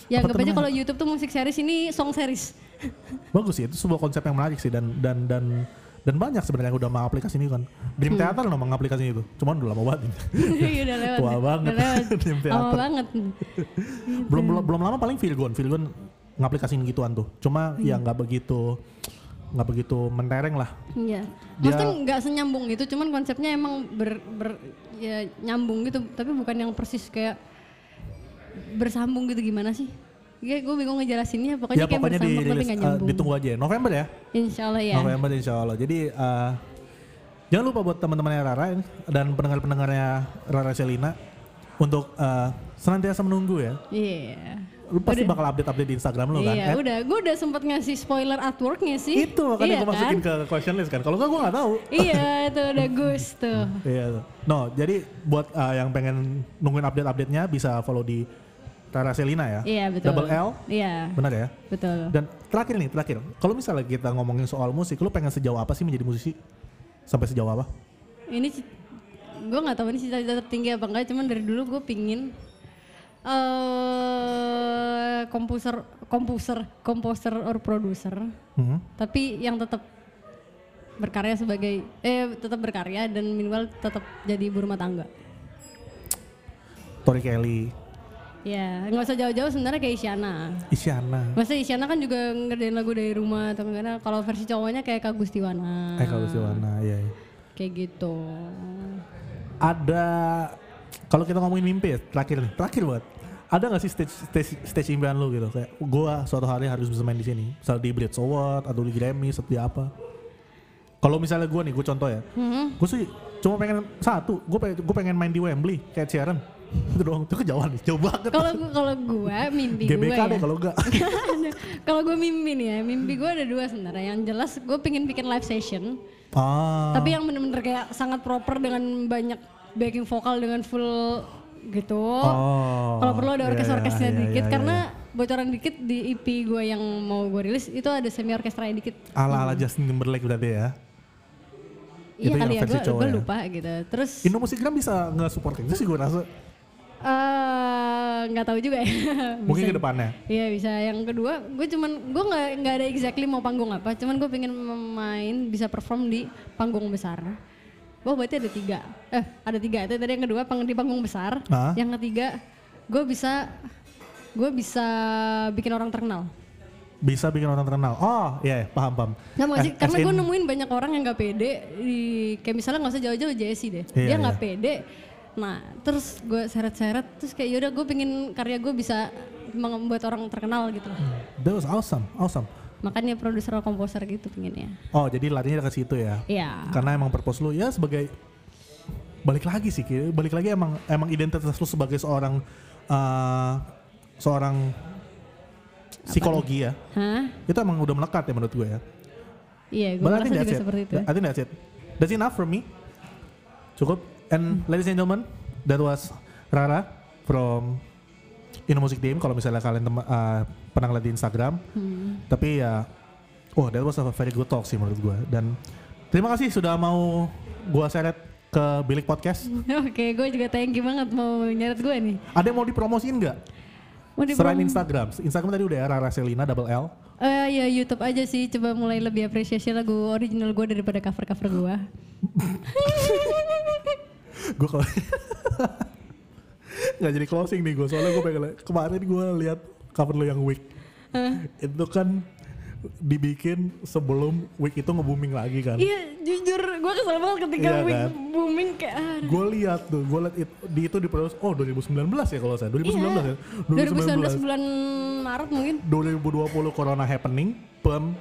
[SPEAKER 3] Ya
[SPEAKER 2] Apa
[SPEAKER 3] anggap aja
[SPEAKER 2] namanya?
[SPEAKER 3] kalau YouTube tuh musik series ini song series.
[SPEAKER 2] bagus sih itu sebuah konsep yang menarik sih dan dan dan dan banyak sebenarnya yang udah mengaplikasi ini kan Dream
[SPEAKER 3] Hmm.
[SPEAKER 2] Theater loh mengaplikasi itu cuman udah lama banget
[SPEAKER 3] Iya, udah lewat.
[SPEAKER 2] Tua
[SPEAKER 3] Udah
[SPEAKER 2] banget.
[SPEAKER 3] lewat.
[SPEAKER 2] Tim
[SPEAKER 3] Lama
[SPEAKER 2] teater.
[SPEAKER 3] banget.
[SPEAKER 2] belum belum belum lama paling Virgon Virgon ngaplikasiin gituan tuh cuma ya
[SPEAKER 3] Hmm.
[SPEAKER 2] nggak begitu nggak begitu mentereng lah
[SPEAKER 3] Iya.
[SPEAKER 2] Dia-
[SPEAKER 3] Maksudnya nggak senyambung itu, cuman konsepnya emang ber, ber- ya, nyambung gitu, tapi bukan yang persis kayak bersambung gitu gimana sih? Ya gue bingung ngejelasinnya, pokoknya
[SPEAKER 2] ya
[SPEAKER 3] Oh, kayak
[SPEAKER 2] pokoknya
[SPEAKER 3] bersambung tapi
[SPEAKER 2] dirilis
[SPEAKER 3] nggak
[SPEAKER 2] eh,
[SPEAKER 3] nyambung.
[SPEAKER 2] ditunggu aja ya. November ya
[SPEAKER 3] Insya Allah ya.
[SPEAKER 2] November insya Allah jadi eh, jangan lupa buat teman-temannya Rara ini, dan pendengar-pendengarnya Rara Selina untuk eh, senantiasa menunggu ya
[SPEAKER 3] Iya.
[SPEAKER 2] lu pasti bakal update-update di Instagram lu kan
[SPEAKER 3] Iya,
[SPEAKER 2] Eh,
[SPEAKER 3] udah. Gue udah sempat ngasih spoiler artworknya sih.
[SPEAKER 2] itu makanya
[SPEAKER 3] Iya
[SPEAKER 2] gue masukin
[SPEAKER 3] kan?
[SPEAKER 2] ke question list kan kalau nggak gue nggak tahu
[SPEAKER 3] iya, itu udah Gus tuh.
[SPEAKER 2] Iya. No, jadi buat uh, yang pengen nungguin update-update-nya bisa follow di Rara Selina ya.
[SPEAKER 3] Iya, betul.
[SPEAKER 2] Double L.
[SPEAKER 3] Iya,
[SPEAKER 2] Benar ya?
[SPEAKER 3] betul.
[SPEAKER 2] Dan terakhir nih, terakhir. Kalau misalnya kita ngomongin soal musik, lu pengen sejauh apa sih menjadi musisi? Sampai sejauh apa?
[SPEAKER 3] Ini gue nggak tahu ini cita-cita tertinggi apa enggak, cuman dari dulu gue pingin eh komposer komposer komposer or produser
[SPEAKER 2] Hmm.
[SPEAKER 3] tapi yang tetap berkarya sebagai eh tetap berkarya dan minimal tetap jadi ibu rumah tangga
[SPEAKER 2] Tori Kelly,
[SPEAKER 3] ya nggak usah jauh-jauh sebenarnya kayak Isyana
[SPEAKER 2] Isyana,
[SPEAKER 3] Maksudnya Isyana kan juga ngerjain lagu dari rumah atau gimana kalau versi cowoknya kayak Kak Gustiwana
[SPEAKER 2] Eka Lusiwana, Eh, iya. iya.
[SPEAKER 3] kayak gitu
[SPEAKER 2] Ada kalau kita ngomongin mimpi ya, terakhir nih, terakhir banget. Ada gak sih stage stage, stage impian lu gitu kayak gua suatu hari harus bisa main di sini, misal di Brit Award atau di Grammy seperti apa? Kalau misalnya gua nih, gue contoh ya,
[SPEAKER 3] Mhm.
[SPEAKER 2] gue sih cuma pengen satu, gue pengen gue pengen main di Wembley kayak Sharon, itu doang, itu kejauhan nih, jauh banget.
[SPEAKER 3] kalau gua- kalau gue mimpi gue
[SPEAKER 2] GBK
[SPEAKER 3] ya
[SPEAKER 2] deh kalau enggak.
[SPEAKER 3] kalau gue mimpi nih ya mimpi gue ada dua sebenarnya yang jelas gue pengen bikin live session
[SPEAKER 2] ah,
[SPEAKER 3] tapi yang bener-bener kayak sangat proper dengan banyak backing vokal dengan full gitu
[SPEAKER 2] Oh,
[SPEAKER 3] kalau perlu ada
[SPEAKER 2] iya,
[SPEAKER 3] orkes-orkesnya
[SPEAKER 2] iya, iya,
[SPEAKER 3] dikit
[SPEAKER 2] iya,
[SPEAKER 3] karena bocoran dikit di EP gue yang mau gue rilis itu ada semi orkestranya dikit
[SPEAKER 2] ala ala Justin Timberlake berarti ya. Itu
[SPEAKER 3] Iya
[SPEAKER 2] yang
[SPEAKER 3] kali ya,
[SPEAKER 2] versi
[SPEAKER 3] gue
[SPEAKER 2] cowok ya?
[SPEAKER 3] lupa gitu. Terus
[SPEAKER 2] Indo Musik Gram bisa nge-support itu sih gue gitu rasa.
[SPEAKER 3] Eh, nggak tahu juga ya.
[SPEAKER 2] Mungkin
[SPEAKER 3] Bisa-
[SPEAKER 2] ke depannya.
[SPEAKER 3] Iya bisa. Yang kedua, gue cuman gue nggak nggak ada exactly mau panggung apa. Cuman gue pengen main bisa perform di panggung besar. Wah berarti ada tiga. Eh ada tiga. Itu tadi yang kedua pang- di panggung besar.
[SPEAKER 2] Hah?
[SPEAKER 3] Yang ketiga, gue bisa gue bisa bikin orang terkenal.
[SPEAKER 2] Bisa bikin orang terkenal. Oh, iya, iya, paham, paham.
[SPEAKER 3] Nggak mau
[SPEAKER 2] Eh,
[SPEAKER 3] sih, karena
[SPEAKER 2] as in-
[SPEAKER 3] gue nemuin banyak orang yang nggak pede di kayak misalnya nggak usah jauh-jauh Jesse deh,
[SPEAKER 2] Iya,
[SPEAKER 3] dia nggak
[SPEAKER 2] iya.
[SPEAKER 3] pede. Nah, terus gue seret-seret, terus kayak yaudah gue pengen karya gue bisa membuat orang terkenal gitu. lah.
[SPEAKER 2] That was awesome, awesome.
[SPEAKER 3] Makanya produser atau komposer gitu pengennya.
[SPEAKER 2] Oh, jadi larinya ke situ ya.
[SPEAKER 3] Iya.
[SPEAKER 2] Karena emang purpose lu ya sebagai balik lagi sih, Ki. balik lagi emang emang identitas lu sebagai seorang eh, seorang psikologi ya.
[SPEAKER 3] Hah?
[SPEAKER 2] Itu emang udah melekat ya menurut gue ya.
[SPEAKER 3] Iya, gue
[SPEAKER 2] But I
[SPEAKER 3] merasa
[SPEAKER 2] think
[SPEAKER 3] juga
[SPEAKER 2] that's it.
[SPEAKER 3] seperti itu. eh?
[SPEAKER 2] I think that's it. That's enough for me. Cukup.
[SPEAKER 3] Hmm.
[SPEAKER 2] And ladies and gentlemen, that was Rara from Ino Music Team. Kalau misalnya kalian tem- uh, pernah ngeliat di Instagram,
[SPEAKER 3] Hmm.
[SPEAKER 2] tapi ya, wah that was a very good talk sih menurut gue. Dan terima kasih sudah mau gue seret ke bilik
[SPEAKER 3] Hmm.
[SPEAKER 2] podcast.
[SPEAKER 3] Oke, gue juga thank you banget mau nyeret gue nih.
[SPEAKER 2] Ada yang mau dipromosiin nggak?
[SPEAKER 3] Mau di
[SPEAKER 2] Selain Instagram, Instagram tadi udah ya, Rara Selina double L.
[SPEAKER 3] Eh ya YouTube aja sih, coba mulai lebih apresiasi lagu original gue daripada cover-cover gue.
[SPEAKER 2] gue kalau nggak jadi closing nih gue soalnya gue pengen kemarin gue lihat cover lo yang week itu kan dibikin sebelum week itu nge-booming lagi kan
[SPEAKER 3] Iya, jujur gue kesel banget ketika
[SPEAKER 2] Iya
[SPEAKER 3] Wing
[SPEAKER 2] kan?
[SPEAKER 3] booming kayak ah,
[SPEAKER 2] gue lihat tuh gue lihat it- di itu diproduksi oh 2019 ya kalau saya 2019 ya
[SPEAKER 3] 2019 bulan Maret mungkin.
[SPEAKER 2] 2020 corona happening pem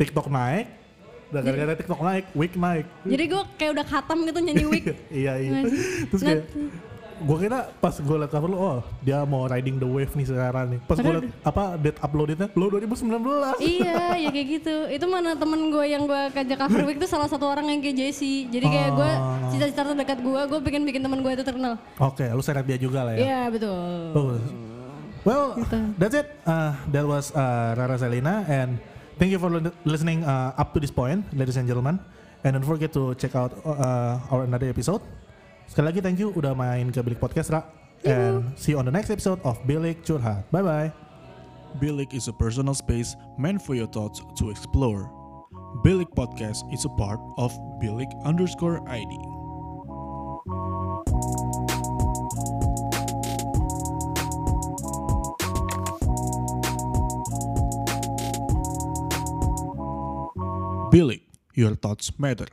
[SPEAKER 2] TikTok naik dan gara-gara TikTok naik week naik
[SPEAKER 3] Jadi gue kayak udah khatam gitu nyanyi week.
[SPEAKER 2] iya iya
[SPEAKER 3] Nggak sih?
[SPEAKER 2] terus kayak gue kira pas gue liat cover lu oh dia mau riding the wave nih sekarang nih pas gue liat apa date uploadednya lo 2019
[SPEAKER 3] iya, ya kayak gitu. Itu mana temen gue yang gue kerja cover week itu salah satu orang yang kayak Jesse. Jadi kayak gue
[SPEAKER 2] Ah.
[SPEAKER 3] cita-cita terdekat gue, gue pengen bikin temen gue itu terkenal.
[SPEAKER 2] oke lu seret dia juga lah ya
[SPEAKER 3] Iya betul.
[SPEAKER 2] Oh. well
[SPEAKER 3] Gitu.
[SPEAKER 2] that's it Uh, that was uh, Rara Selina and thank you for li- listening uh, up to this point ladies and gentlemen and don't forget to check out uh, our another episode sekali lagi thank you udah main ke Bilik Podcast Ra and see you on the next episode of Bilik Curhat bye bye
[SPEAKER 1] Bilik is a personal space meant for your thoughts to explore. Bilik Podcast is a part of Bilik underscore ID. Bilik, your thoughts matter.